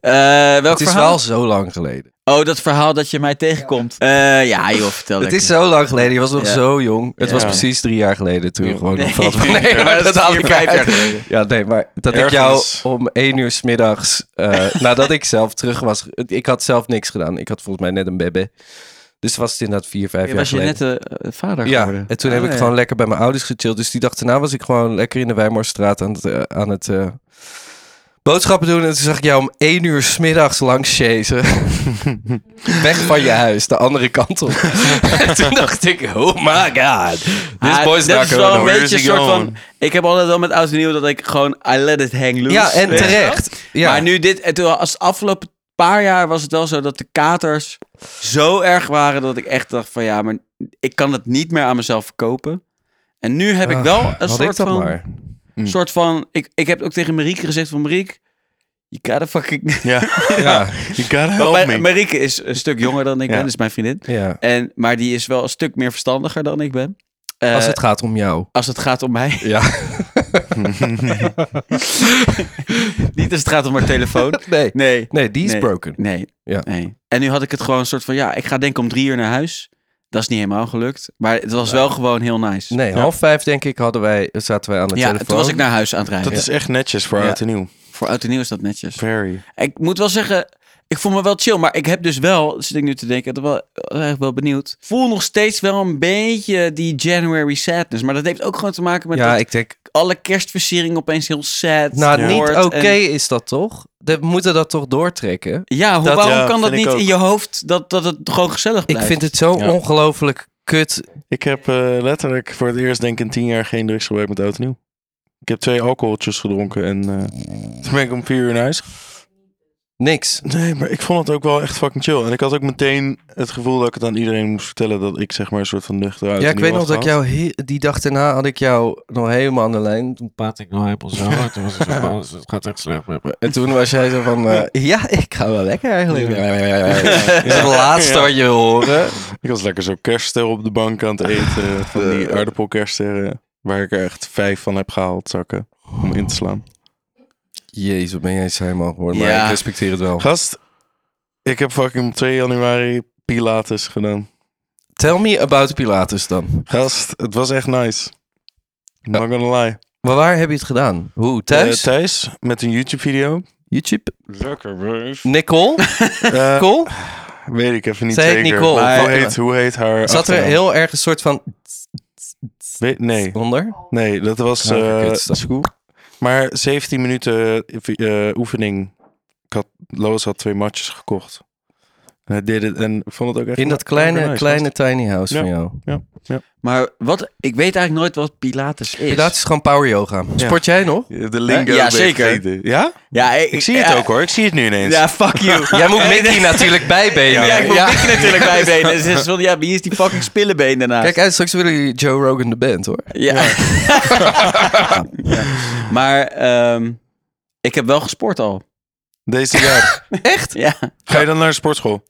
[SPEAKER 3] eh, welk
[SPEAKER 1] Het is
[SPEAKER 3] verhaal?
[SPEAKER 1] wel zo lang geleden.
[SPEAKER 3] Oh, dat verhaal dat je mij tegenkomt. Eh, ja, joh, vertel
[SPEAKER 1] Het
[SPEAKER 3] lekker.
[SPEAKER 1] is eh, zo lang geleden. Je was nog
[SPEAKER 3] Ja.
[SPEAKER 1] zo jong. Het
[SPEAKER 3] Ja.
[SPEAKER 1] was precies drie jaar geleden toen je gewoon
[SPEAKER 3] Nee.
[SPEAKER 1] nog valt van... Nee, maar dat haal ik uit. Ja, nee, maar dat
[SPEAKER 2] Ergens.
[SPEAKER 1] ik jou om één uur 's middags, eh, nadat ik zelf terug was... Ik had zelf niks gedaan. Ik had volgens mij net een bebé. Dus was het inderdaad vier, vijf
[SPEAKER 3] Je
[SPEAKER 1] jaar
[SPEAKER 3] was je
[SPEAKER 1] geleden.
[SPEAKER 3] net eh, vader
[SPEAKER 1] ja,
[SPEAKER 3] geworden.
[SPEAKER 1] en toen
[SPEAKER 3] Ah,
[SPEAKER 1] heb ik
[SPEAKER 3] ja.
[SPEAKER 1] gewoon lekker bij mijn ouders gechilled. Dus die dag daarna was ik gewoon lekker in de Wijmarstraat aan het, eh, aan het eh, boodschappen doen. En toen zag ik jou om één uur 's middags langs chasen. Weg van je huis, de andere kant op. en toen dacht ik, oh my god. This
[SPEAKER 3] Ah,
[SPEAKER 1] boy's
[SPEAKER 3] dat
[SPEAKER 1] not
[SPEAKER 3] is wel
[SPEAKER 1] going
[SPEAKER 3] een
[SPEAKER 2] Where
[SPEAKER 3] beetje een
[SPEAKER 2] is he
[SPEAKER 3] soort van...
[SPEAKER 2] going?
[SPEAKER 3] Ik heb altijd wel met oud en nieuw dat ik gewoon... I let it hang loose.
[SPEAKER 1] Ja, en
[SPEAKER 3] weet je wel?
[SPEAKER 1] terecht. Ja.
[SPEAKER 3] Maar nu dit... En toen als het afgelopen paar jaar was het wel zo dat de katers zo erg waren... dat ik echt dacht van ja, maar ik kan het niet meer aan mezelf verkopen. En nu heb ik wel een
[SPEAKER 1] Ah, Had
[SPEAKER 3] soort
[SPEAKER 1] ik dat
[SPEAKER 3] van...
[SPEAKER 1] maar. Hm.
[SPEAKER 3] Een soort van... Ik, ik heb ook tegen Marieke gezegd van... Marieke, you gotta fucking...
[SPEAKER 2] Ja.
[SPEAKER 1] Ja,
[SPEAKER 2] You gotta help
[SPEAKER 3] Maar
[SPEAKER 2] me.
[SPEAKER 3] Marieke is een stuk jonger dan ik
[SPEAKER 2] Ja.
[SPEAKER 3] ben. is mijn vriendin.
[SPEAKER 1] ja.
[SPEAKER 3] En, maar die is wel een stuk meer verstandiger dan ik ben. Eh,
[SPEAKER 1] Als het gaat om jou.
[SPEAKER 3] als het gaat om mij.
[SPEAKER 1] Ja.
[SPEAKER 3] Niet als het gaat om haar telefoon.
[SPEAKER 1] Nee,
[SPEAKER 3] Nee.
[SPEAKER 1] nee die is
[SPEAKER 3] Nee.
[SPEAKER 1] broken.
[SPEAKER 3] Nee.
[SPEAKER 1] Ja.
[SPEAKER 3] nee. En nu had ik het gewoon een soort van... Ja, ik ga denk ik om drie uur naar huis. Dat is niet helemaal gelukt. Maar het was wel gewoon heel nice.
[SPEAKER 1] Nee,
[SPEAKER 2] Ja.
[SPEAKER 1] half vijf denk ik hadden wij, zaten wij aan de
[SPEAKER 3] ja,
[SPEAKER 1] telefoon.
[SPEAKER 3] toen was ik nou naar huis aan het rijden.
[SPEAKER 2] Dat is echt netjes voor
[SPEAKER 3] Ja.
[SPEAKER 2] oud en nieuw.
[SPEAKER 3] Voor Oud en Nieuw is dat netjes.
[SPEAKER 2] Very.
[SPEAKER 3] Ik moet wel zeggen... Ik voel me wel chill, maar ik heb dus wel, zit ik nu te denken, dat wel, eigenlijk wel benieuwd. Voel nog steeds wel een beetje die January sadness. Maar dat heeft ook gewoon te maken met
[SPEAKER 1] Ja,
[SPEAKER 3] dat
[SPEAKER 1] ik denk,
[SPEAKER 3] alle kerstversiering opeens heel sad
[SPEAKER 1] Nou,
[SPEAKER 2] Ja.
[SPEAKER 1] niet
[SPEAKER 3] wordt
[SPEAKER 1] oké
[SPEAKER 3] en-
[SPEAKER 1] is dat toch? De- We moeten dat toch doortrekken?
[SPEAKER 3] Ja, hoe,
[SPEAKER 1] Dat-
[SPEAKER 3] waarom
[SPEAKER 2] Ja,
[SPEAKER 3] kan dat
[SPEAKER 2] vind ik
[SPEAKER 3] niet
[SPEAKER 2] ook.
[SPEAKER 3] in je hoofd dat, dat het gewoon gezellig
[SPEAKER 1] Ik
[SPEAKER 3] blijft?
[SPEAKER 1] vind het zo
[SPEAKER 2] Ja.
[SPEAKER 1] ongelooflijk kut.
[SPEAKER 2] Ik heb eh, letterlijk voor het eerst denk ik in tien jaar geen drugs gebruikt met oud en nieuw. Ik heb twee alcoholtjes gedronken en eh, toen ben ik om vier uur naar huis.
[SPEAKER 1] Niks.
[SPEAKER 3] Nou,
[SPEAKER 2] Nee, maar ik vond het ook wel echt fucking chill. En ik had ook meteen het gevoel dat ik het aan iedereen moest vertellen dat ik zeg maar een soort van nuchter oud
[SPEAKER 1] Ja,
[SPEAKER 2] en
[SPEAKER 1] ik
[SPEAKER 2] nieuw
[SPEAKER 1] weet nog
[SPEAKER 2] had
[SPEAKER 1] dat ik
[SPEAKER 2] gehad.
[SPEAKER 1] jou... he- Die dag daarna had ik jou nog helemaal aan de lijn. Toen-
[SPEAKER 6] praat ik nou helemaal zo. En Toen was het zo van, "Oh, het gaat echt slecht met me.
[SPEAKER 1] En toen was jij zo van... eh, ja, ik ga wel lekker eigenlijk.
[SPEAKER 6] Ja.
[SPEAKER 1] Dat is het laatste wat je wil horen.
[SPEAKER 2] Ik was lekker zo kerstster op de bank aan het eten. van die aardappelkerststerren. Waar ik er echt vijf van heb gehaald, zakken. Om in te slaan.
[SPEAKER 1] Jezus, wat ben jij saai man geworden. Maar
[SPEAKER 3] Ja.
[SPEAKER 1] ik respecteer het wel.
[SPEAKER 2] Gast, ik heb fucking op 2 januari Pilates gedaan.
[SPEAKER 1] Tell me about Pilatus dan.
[SPEAKER 2] Gast, het was echt nice. Not gonna lie.
[SPEAKER 1] Maar waar heb je het gedaan? Hoe? Thuis?
[SPEAKER 2] Eh, thuis, met een YouTube-video.
[SPEAKER 1] YouTube?
[SPEAKER 6] Lekker, wees.
[SPEAKER 1] Nicole?
[SPEAKER 2] Eh,
[SPEAKER 1] Nicole?
[SPEAKER 2] weet ik even niet
[SPEAKER 1] Zij heet
[SPEAKER 2] zeker.
[SPEAKER 1] Nicole.
[SPEAKER 2] Maar hoe,
[SPEAKER 1] Maar-
[SPEAKER 2] heet, hoe heet haar
[SPEAKER 1] Zat er
[SPEAKER 2] achternaam?
[SPEAKER 1] heel erg een soort van...
[SPEAKER 2] We- nee,
[SPEAKER 1] Onder? Oh,
[SPEAKER 2] nee, dat was
[SPEAKER 3] Oh,
[SPEAKER 1] Kanker,
[SPEAKER 2] eh,
[SPEAKER 1] kutstap.
[SPEAKER 2] school. Maar 17 minuten eh, oefening. Ik had, Lois had twee matjes gekocht. En hij deed het en ik vond het ook echt
[SPEAKER 1] In dat
[SPEAKER 2] kanker
[SPEAKER 1] kleine,
[SPEAKER 2] nice,
[SPEAKER 1] kleine
[SPEAKER 2] gast.
[SPEAKER 1] tiny house
[SPEAKER 2] Ja.
[SPEAKER 1] van jou.
[SPEAKER 3] Maar wat, ik weet eigenlijk nooit wat Pilates is.
[SPEAKER 1] Pilates is gewoon power yoga. Sport jij nog?
[SPEAKER 2] Eh, De lingo.
[SPEAKER 3] Ja,
[SPEAKER 2] ben ik
[SPEAKER 3] zeker.
[SPEAKER 2] vergeten. Ja?
[SPEAKER 3] Ja, ik,
[SPEAKER 2] Ik zie het
[SPEAKER 3] ja,
[SPEAKER 2] ook hoor. Ik zie het nu ineens.
[SPEAKER 3] Ja, fuck you.
[SPEAKER 1] Jij moet Mickey natuurlijk bijbenen.
[SPEAKER 3] Ja, ik moet
[SPEAKER 1] Ja.
[SPEAKER 3] Mickey natuurlijk bijbenen. Dus het is van, ja, wie is die fucking spillenbeen daarnaast?
[SPEAKER 1] Kijk uit, straks willen jullie Joe Rogan de band hoor.
[SPEAKER 3] Ja. Ja. Maar ehm, ik heb wel gesport al.
[SPEAKER 2] Deze jaar.
[SPEAKER 3] Ja.
[SPEAKER 2] Ga je dan naar de sportschool?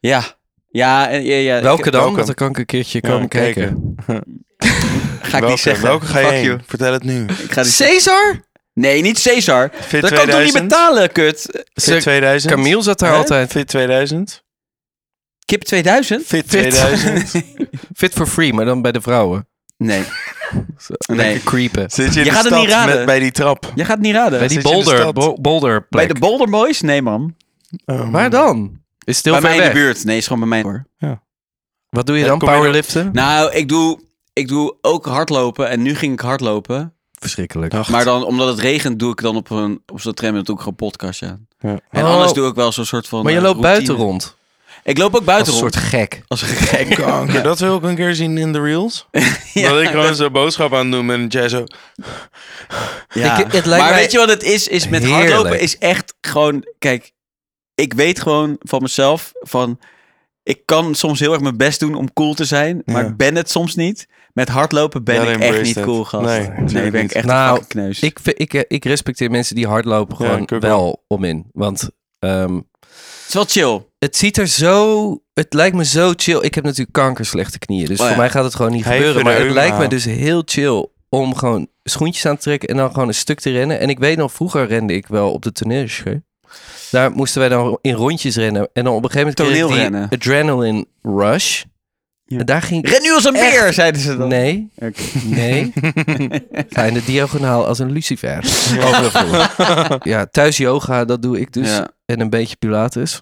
[SPEAKER 3] Ja. Ja, en- ja, ja.
[SPEAKER 1] Welke dan?
[SPEAKER 2] welke?
[SPEAKER 1] Want dan kan ik een keertje komen kijken.
[SPEAKER 3] Ik- ga ik
[SPEAKER 2] welke,
[SPEAKER 3] niet zeggen.
[SPEAKER 2] welke ga je
[SPEAKER 3] Fuck
[SPEAKER 2] heen?
[SPEAKER 3] you.
[SPEAKER 2] Vertel het nu.
[SPEAKER 3] Ik ga niet
[SPEAKER 1] Cesar?
[SPEAKER 3] Nee, niet Cesar.
[SPEAKER 2] Fit
[SPEAKER 3] Dat kan ik toch niet betalen, eh, kut?
[SPEAKER 2] Fit 2000.
[SPEAKER 1] Camille zat daar
[SPEAKER 3] Hè?
[SPEAKER 1] altijd.
[SPEAKER 2] Fit 2000.
[SPEAKER 3] Kip 2000?
[SPEAKER 2] Fit 2000.
[SPEAKER 1] Fit for free, maar dan bij de vrouwen.
[SPEAKER 3] Nee.
[SPEAKER 1] Nee.
[SPEAKER 3] Nee.
[SPEAKER 1] creepen.
[SPEAKER 2] Zit je in
[SPEAKER 3] Je
[SPEAKER 2] de
[SPEAKER 3] gaat het
[SPEAKER 2] stad
[SPEAKER 3] niet raden.
[SPEAKER 2] Met, bij die trap?
[SPEAKER 3] Je gaat het niet raden.
[SPEAKER 1] Bij die
[SPEAKER 2] zit je in de
[SPEAKER 1] boulder,
[SPEAKER 2] stad?
[SPEAKER 1] bo- boulder
[SPEAKER 3] Bij
[SPEAKER 1] plek.
[SPEAKER 3] de Boulder Boys? Nee, man.
[SPEAKER 2] Oh,
[SPEAKER 1] Waar dan? Is stil
[SPEAKER 3] Ehm, bij
[SPEAKER 1] ver
[SPEAKER 3] mij in
[SPEAKER 1] weg.
[SPEAKER 3] de buurt. Nee, is gewoon bij mij hoor.
[SPEAKER 1] Wat doe je
[SPEAKER 2] Ja,
[SPEAKER 1] dan?
[SPEAKER 2] kom je dan-
[SPEAKER 1] Powerliften?
[SPEAKER 3] Nou, ik doe, ik doe ook hardlopen. En nu ging ik hardlopen.
[SPEAKER 1] Verschrikkelijk.
[SPEAKER 3] Maar dan, omdat het regent, doe ik dan op, een, op zo'n tram en dan doe ik gewoon podcast, ja.
[SPEAKER 2] Ja.
[SPEAKER 3] En
[SPEAKER 1] Oh.
[SPEAKER 3] anders doe ik wel zo'n soort van
[SPEAKER 1] maar je
[SPEAKER 3] eh,
[SPEAKER 1] loopt
[SPEAKER 3] routine.
[SPEAKER 1] buiten rond.
[SPEAKER 3] Ik loop ook
[SPEAKER 1] Als
[SPEAKER 3] buiten
[SPEAKER 1] een soort
[SPEAKER 3] rond.
[SPEAKER 1] gek.
[SPEAKER 3] Als een gek.
[SPEAKER 2] Kanker, Oh, dat wil ik een keer zien in de reels. dat ik gewoon zo'n boodschap aan doe en jij zo...
[SPEAKER 3] Ja.
[SPEAKER 1] Ik- het lijkt
[SPEAKER 3] maar
[SPEAKER 1] mij
[SPEAKER 3] weet je wat het is? Is met
[SPEAKER 1] heerlijk.
[SPEAKER 3] hardlopen is echt gewoon... Kijk, ik weet gewoon van mezelf van... Ik kan soms heel erg mijn best doen om cool te zijn, maar
[SPEAKER 2] Ja.
[SPEAKER 3] ik ben het soms niet. Met hardlopen ben
[SPEAKER 2] Ja,
[SPEAKER 3] ik
[SPEAKER 2] dan
[SPEAKER 3] echt
[SPEAKER 2] embrace
[SPEAKER 3] niet
[SPEAKER 2] that.
[SPEAKER 3] cool, gast.
[SPEAKER 2] Nee, natuurlijk
[SPEAKER 3] ben ik
[SPEAKER 2] niet.
[SPEAKER 3] echt
[SPEAKER 1] Nou,
[SPEAKER 3] een fucking kneus.
[SPEAKER 1] Ik, vind- ik, eh, ik respecteer mensen die hardlopen
[SPEAKER 2] Ja,
[SPEAKER 1] gewoon
[SPEAKER 2] ik ook
[SPEAKER 1] wel,
[SPEAKER 2] wel.
[SPEAKER 1] om in. Want ehm,
[SPEAKER 3] Het is wel chill.
[SPEAKER 1] het ziet er zo... Het lijkt me zo chill. Ik heb natuurlijk kankerslechte knieën. Dus
[SPEAKER 3] Oh ja.
[SPEAKER 1] voor mij gaat het gewoon niet
[SPEAKER 2] Hij
[SPEAKER 1] gebeuren.
[SPEAKER 2] heeft er
[SPEAKER 1] Maar het
[SPEAKER 2] een
[SPEAKER 1] lijkt me
[SPEAKER 2] aan.
[SPEAKER 1] dus heel chill om gewoon schoentjes aan te trekken en dan gewoon een stuk te rennen. En ik weet nog, vroeger rende ik wel op de toneelschool. Daar moesten wij dan in rondjes rennen. En dan op een gegeven moment kreeg ik die
[SPEAKER 3] Toneelrennen.
[SPEAKER 1] adrenaline rush. En daar ging ik
[SPEAKER 3] Ren nu als een
[SPEAKER 1] Echt?
[SPEAKER 3] beer, zeiden ze dan.
[SPEAKER 1] Nee.
[SPEAKER 3] Oké.
[SPEAKER 1] Nee. Ga in de diagonaal als een lucifer. Over de vloer. Ja, thuis yoga, dat doe ik dus.
[SPEAKER 3] Ja.
[SPEAKER 1] En een beetje pilates.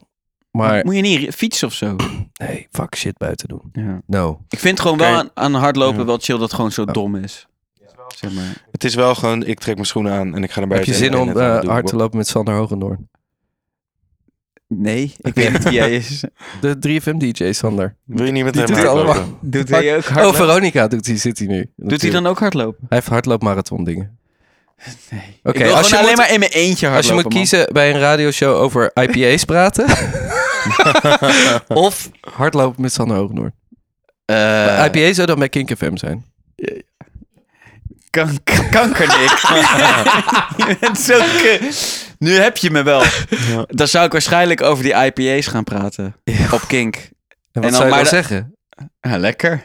[SPEAKER 1] Maar
[SPEAKER 3] Moet je niet fietsen of zo?
[SPEAKER 1] nee, fuck shit buiten doen.
[SPEAKER 3] Ja.
[SPEAKER 1] No.
[SPEAKER 3] Ik vind gewoon
[SPEAKER 2] Oké.
[SPEAKER 3] wel aan, aan hardlopen
[SPEAKER 2] Ja.
[SPEAKER 3] wel chill dat het gewoon zo dom is. Zeg maar.
[SPEAKER 2] Het is wel gewoon, ik trek mijn schoenen aan en ik ga
[SPEAKER 1] Heb
[SPEAKER 2] naar
[SPEAKER 1] je
[SPEAKER 2] buiten. en
[SPEAKER 1] zin
[SPEAKER 2] ik
[SPEAKER 1] om
[SPEAKER 2] ben net aan
[SPEAKER 1] eh,
[SPEAKER 2] het doen.
[SPEAKER 1] hard te lopen met Sander Hogendoorn?
[SPEAKER 3] Nee, ik weet niet wie jij is.
[SPEAKER 1] De 3FM-DJ Sander.
[SPEAKER 2] Wil je niet met
[SPEAKER 1] Die
[SPEAKER 2] hem
[SPEAKER 1] doet het
[SPEAKER 2] hardlopen?
[SPEAKER 1] allemaal.
[SPEAKER 3] Doet hij ook
[SPEAKER 1] Oh,
[SPEAKER 3] hardlopen?
[SPEAKER 1] Veronica doet hij, zit hij nu.
[SPEAKER 3] Doet hij dan ook hardlopen?
[SPEAKER 1] Hij heeft hardloopmarathon dingen.
[SPEAKER 3] Nee.
[SPEAKER 1] Oké,
[SPEAKER 3] ik wil
[SPEAKER 1] als,
[SPEAKER 3] gewoon
[SPEAKER 1] je
[SPEAKER 3] alleen
[SPEAKER 1] moet-
[SPEAKER 3] maar in mijn eentje
[SPEAKER 1] als je
[SPEAKER 3] hardlopen,
[SPEAKER 1] moet kiezen bij een radioshow over IPA's praten... of hardlopen met Sander Hogendoorn.
[SPEAKER 3] man. Eh,
[SPEAKER 1] IPA zou dan bij Kink FM zijn.
[SPEAKER 3] kan- kan- kanker, Nick. je bent zo kut. Nu heb je me wel. Dan zou ik waarschijnlijk over die IPA's gaan praten. Op Kink.
[SPEAKER 1] En wat
[SPEAKER 3] dan-
[SPEAKER 1] zou je
[SPEAKER 3] maar
[SPEAKER 1] dan
[SPEAKER 3] de-
[SPEAKER 1] zeggen?
[SPEAKER 3] Ja, lekker.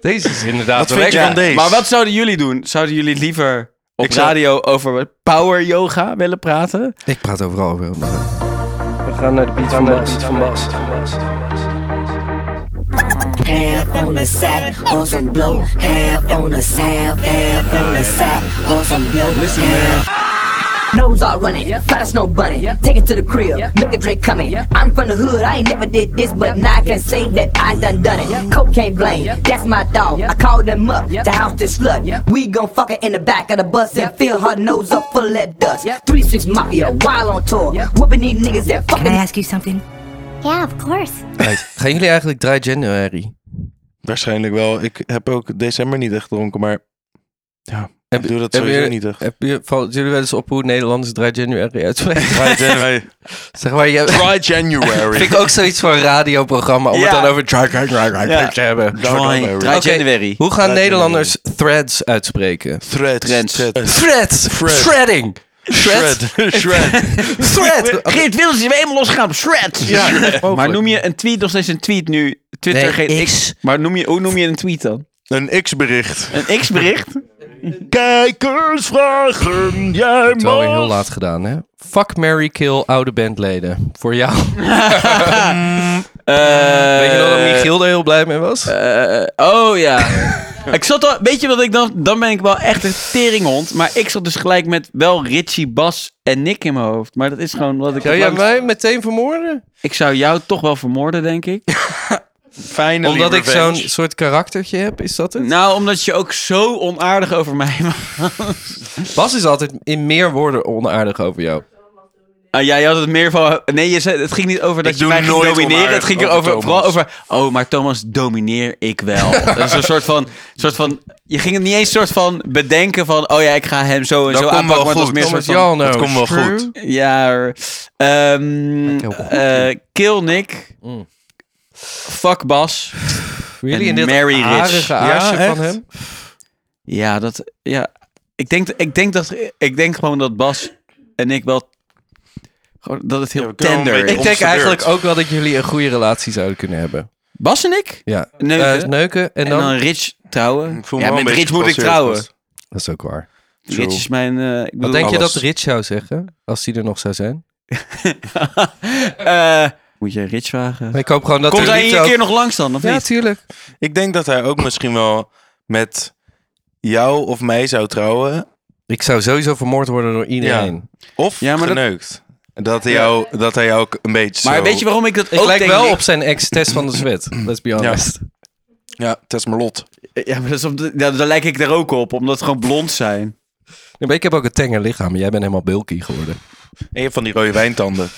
[SPEAKER 1] Deze is inderdaad
[SPEAKER 2] Wat vind je van deze?
[SPEAKER 3] Maar wat zouden jullie doen? Zouden jullie liever op
[SPEAKER 2] Ik zou-
[SPEAKER 3] radio over power yoga willen praten?
[SPEAKER 1] Ik praat overal over. We gaan naar de beat van Bas. Van Bas.
[SPEAKER 7] half on the sack, or some blow, half on the sap, half on the sack, or some blow. Listen, Nose all running, class no bunny. Take it to the crib, look at Drake coming. I'm from the hood, I ain't never did this, but now I can say that I done done it. Coke can't blame, that's my dog. I called them up to house this slut. We gon' fuck her in the back of the bus and fill her nose up full of that dust. 3-6 Mafia, wild on tour. Whooping these niggas that fucking
[SPEAKER 8] Can I ask you something?
[SPEAKER 4] Yeah, of course.
[SPEAKER 1] Gaan jullie eigenlijk dry January?
[SPEAKER 2] Waarschijnlijk wel. Ik heb ook december niet echt gedronken, maar ja,
[SPEAKER 1] Heb-
[SPEAKER 2] ik doe dat
[SPEAKER 1] heb
[SPEAKER 2] sowieso
[SPEAKER 1] je-
[SPEAKER 2] niet echt.
[SPEAKER 1] Heb je, valt jullie wel eens op hoe Nederlanders dry January uitspreken?
[SPEAKER 2] Dry January.
[SPEAKER 1] zeg maar, je
[SPEAKER 2] Dry January.
[SPEAKER 1] vind ik ook zoiets voor een radioprogramma om het
[SPEAKER 3] Ja.
[SPEAKER 1] dan over dry January
[SPEAKER 3] Ja.
[SPEAKER 1] te hebben.
[SPEAKER 3] Dry, dry
[SPEAKER 1] Oké.
[SPEAKER 3] January.
[SPEAKER 1] Hoe gaan
[SPEAKER 2] Dry
[SPEAKER 1] Nederlanders threads uitspreken?
[SPEAKER 2] Threads.
[SPEAKER 3] Trends.
[SPEAKER 2] Threads.
[SPEAKER 1] Threads!
[SPEAKER 2] Thread.
[SPEAKER 1] Shredding! Shred!
[SPEAKER 2] Shred. Shred.
[SPEAKER 1] Thread!
[SPEAKER 3] Geert Wilders is weer helemaal losgegaan op Shred. Maar noem je een tweet nog steeds een tweet nu? Twitter
[SPEAKER 1] Nee,
[SPEAKER 3] geen
[SPEAKER 1] X.
[SPEAKER 3] X. Maar noem je, hoe noem je een tweet dan?
[SPEAKER 2] Een X-bericht.
[SPEAKER 3] Een X-bericht?
[SPEAKER 2] Kijkersvragen, jij
[SPEAKER 1] Wel weer heel laat gedaan, hè? Fuck, Mary kill oude bandleden. Voor jou. Weet je nog dat Michiel er heel blij mee was?
[SPEAKER 3] oh ja. ik zat al, weet je wat ik dan, dan ben ik wel echt een teringhond. Maar ik zat dus gelijk met wel Richie, Bas en Nick in mijn hoofd. Maar dat is gewoon wat ik...
[SPEAKER 1] Zou
[SPEAKER 3] het
[SPEAKER 1] jij
[SPEAKER 3] langst-
[SPEAKER 1] mij meteen vermoorden?
[SPEAKER 3] Ik zou jou toch wel vermoorden, denk ik.
[SPEAKER 2] Finally
[SPEAKER 1] Omdat ik zo'n
[SPEAKER 2] revenge.
[SPEAKER 1] soort karaktertje heb, is dat het?
[SPEAKER 3] Nou, omdat je ook zo onaardig over mij
[SPEAKER 1] Bas is altijd in meer woorden onaardig over jou.
[SPEAKER 3] Ah, ja, je had het meer van... Nee, je zei, het ging niet over dat
[SPEAKER 2] Ik
[SPEAKER 3] je
[SPEAKER 2] doe
[SPEAKER 3] mij ging
[SPEAKER 2] nooit
[SPEAKER 3] domineren.
[SPEAKER 2] onaardig
[SPEAKER 3] Het ging
[SPEAKER 2] over
[SPEAKER 3] erover,
[SPEAKER 2] Thomas.
[SPEAKER 3] vooral over... Oh, maar Thomas, domineer ik wel. dat is een soort van, soort van... Je ging het niet eens soort van bedenken van... Oh ja, ik ga hem zo en
[SPEAKER 2] Dat
[SPEAKER 3] zo
[SPEAKER 2] komt wel
[SPEAKER 3] aanpakken. maar het was
[SPEAKER 2] goed.
[SPEAKER 3] meer een
[SPEAKER 1] Thomas Jan,
[SPEAKER 2] dat
[SPEAKER 3] soort van...
[SPEAKER 1] oh,
[SPEAKER 2] komt wel
[SPEAKER 1] screw.
[SPEAKER 2] goed.
[SPEAKER 3] Ja, hoor. Ehm,
[SPEAKER 1] heel goed.
[SPEAKER 3] eh, kill Nick.
[SPEAKER 1] Mm.
[SPEAKER 3] Fuck Bas.
[SPEAKER 1] Really?
[SPEAKER 3] En
[SPEAKER 1] In dit
[SPEAKER 3] Mary Rich.
[SPEAKER 1] harige
[SPEAKER 3] Ja,
[SPEAKER 1] aarsje
[SPEAKER 2] echt?
[SPEAKER 1] van hem?
[SPEAKER 3] Ja, dat... Ja, ik denk, ik denk, dat, ik denk gewoon dat Bas en ik wel... Gewoon dat het heel
[SPEAKER 2] we kunnen wel een
[SPEAKER 3] tender
[SPEAKER 2] beetje
[SPEAKER 3] is.
[SPEAKER 1] Ik denk
[SPEAKER 2] Ons de
[SPEAKER 1] eigenlijk
[SPEAKER 2] beurt.
[SPEAKER 1] ook wel dat jullie een goede relatie zouden kunnen hebben.
[SPEAKER 3] Bas en ik?
[SPEAKER 1] Ja.
[SPEAKER 3] Neuken.
[SPEAKER 1] Eh, neuken en
[SPEAKER 3] En
[SPEAKER 1] dan...
[SPEAKER 3] dan, Rich trouwen.
[SPEAKER 2] Ik voel me
[SPEAKER 3] ja,
[SPEAKER 2] wel
[SPEAKER 3] met
[SPEAKER 2] een
[SPEAKER 3] Rich
[SPEAKER 2] beetje
[SPEAKER 3] moet
[SPEAKER 2] gepasseerd,
[SPEAKER 3] ik
[SPEAKER 2] dus
[SPEAKER 3] trouwen.
[SPEAKER 2] gast.
[SPEAKER 1] Dat is ook waar.
[SPEAKER 2] Zo.
[SPEAKER 3] Rich is mijn... eh, ik
[SPEAKER 1] Wat
[SPEAKER 3] bedoel,
[SPEAKER 1] denk je
[SPEAKER 2] alles.
[SPEAKER 1] dat Rich zou zeggen? Als hij er nog zou zijn?
[SPEAKER 3] Eh, moet je Rich vragen?
[SPEAKER 1] Maar ik hoop gewoon dat
[SPEAKER 3] Komt
[SPEAKER 1] er
[SPEAKER 3] hij
[SPEAKER 1] niet
[SPEAKER 3] een
[SPEAKER 1] ook-
[SPEAKER 3] keer nog langs dan, of
[SPEAKER 1] Ja,
[SPEAKER 3] niet?
[SPEAKER 1] tuurlijk.
[SPEAKER 2] Ik denk dat hij ook misschien wel met jou of mij zou trouwen.
[SPEAKER 1] Ik zou sowieso vermoord worden door iedereen.
[SPEAKER 2] Of
[SPEAKER 3] Ja, maar dat-
[SPEAKER 2] geneukt. Dat... hij jou, dat hij jou ook een beetje
[SPEAKER 3] Maar
[SPEAKER 2] zo-
[SPEAKER 3] weet je waarom ik dat
[SPEAKER 1] Ik
[SPEAKER 3] ook
[SPEAKER 1] lijk
[SPEAKER 3] denk,
[SPEAKER 1] wel
[SPEAKER 3] Nick?
[SPEAKER 1] op zijn ex Tess van de Zwet. Let's be honest.
[SPEAKER 2] Ja, Tess Merlot.
[SPEAKER 3] Ja, maar dat is op de- ja, daar lijk ik er ook op, omdat we gewoon blond zijn.
[SPEAKER 1] Ja, maar ik heb ook een tenger lichaam. maar Jij bent helemaal bulky geworden.
[SPEAKER 2] En je hebt van die rode wijntanden.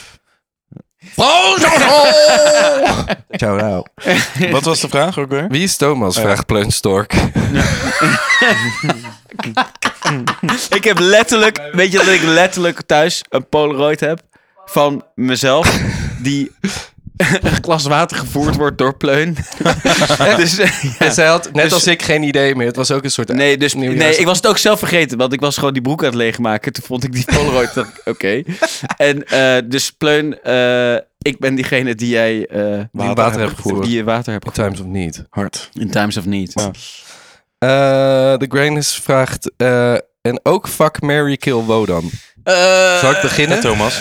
[SPEAKER 1] Ciao nou.
[SPEAKER 2] Wat was de vraag ook weer?
[SPEAKER 1] Wie is
[SPEAKER 3] Oh
[SPEAKER 1] Thomas? Vraagt Pleunstork.
[SPEAKER 3] Ik heb letterlijk, weet je dat ik letterlijk thuis een Polaroid heb van mezelf, die een glas water gevoerd wordt door pleun. dus, eh, ja.
[SPEAKER 1] En zij had, net
[SPEAKER 3] Dus-
[SPEAKER 1] als ik, geen idee meer. Het was ook een soort...
[SPEAKER 3] Nee, dus,
[SPEAKER 1] Nieuwjaars-
[SPEAKER 3] nee, ik was het ook zelf vergeten, want ik was gewoon die broek aan het leegmaken. Toen vond ik die Polaroid. dacht ik, Oké. En eh, dus Pleun, eh, ik ben diegene die jij eh,
[SPEAKER 1] Die water hebt gevoerd.
[SPEAKER 3] Die je water hebt gevoerd.
[SPEAKER 1] Times of Need.
[SPEAKER 2] Hard.
[SPEAKER 3] In Times of Need.
[SPEAKER 2] Ja.
[SPEAKER 1] Eh, De Grainus vraagt... eh, en ook fuck Mary Kill Wodan.
[SPEAKER 3] Eh,
[SPEAKER 1] Zal ik beginnen?
[SPEAKER 2] Thomas.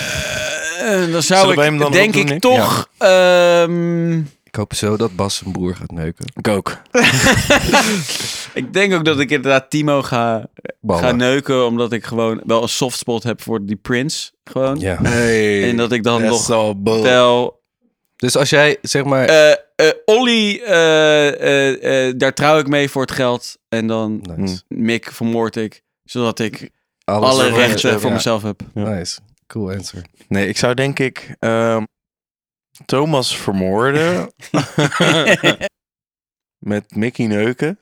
[SPEAKER 3] eh, dan
[SPEAKER 2] Zullen
[SPEAKER 3] zou ik,
[SPEAKER 2] wij hem dan
[SPEAKER 3] denk
[SPEAKER 2] opdoen,
[SPEAKER 3] ik,
[SPEAKER 2] Nick?
[SPEAKER 3] toch... ehm,
[SPEAKER 1] Ik hoop zo dat Bas zijn broer gaat neuken.
[SPEAKER 2] Ik ook.
[SPEAKER 3] ik denk ook dat ik inderdaad Timo ga, ga
[SPEAKER 1] Ballen.
[SPEAKER 3] neuken, omdat ik gewoon wel een soft spot heb voor die Prince. Gewoon.
[SPEAKER 1] Ja.
[SPEAKER 2] Hey.
[SPEAKER 3] En dat ik dan
[SPEAKER 2] That's
[SPEAKER 3] nog
[SPEAKER 2] all bull.
[SPEAKER 3] tel
[SPEAKER 1] Dus als jij, zeg maar...
[SPEAKER 3] eh eh, Olly, eh, eh, eh, daar trouw ik mee voor het geld. En dan
[SPEAKER 1] nice.
[SPEAKER 3] Mick vermoord ik, zodat ik
[SPEAKER 1] Alles
[SPEAKER 3] alle
[SPEAKER 1] ervan.
[SPEAKER 3] rechten voor
[SPEAKER 1] Ja.
[SPEAKER 3] mezelf heb.
[SPEAKER 1] Nice. Cool answer.
[SPEAKER 2] Nee, ik zou denk ik ehm, Thomas vermoorden. met Mickey neuken.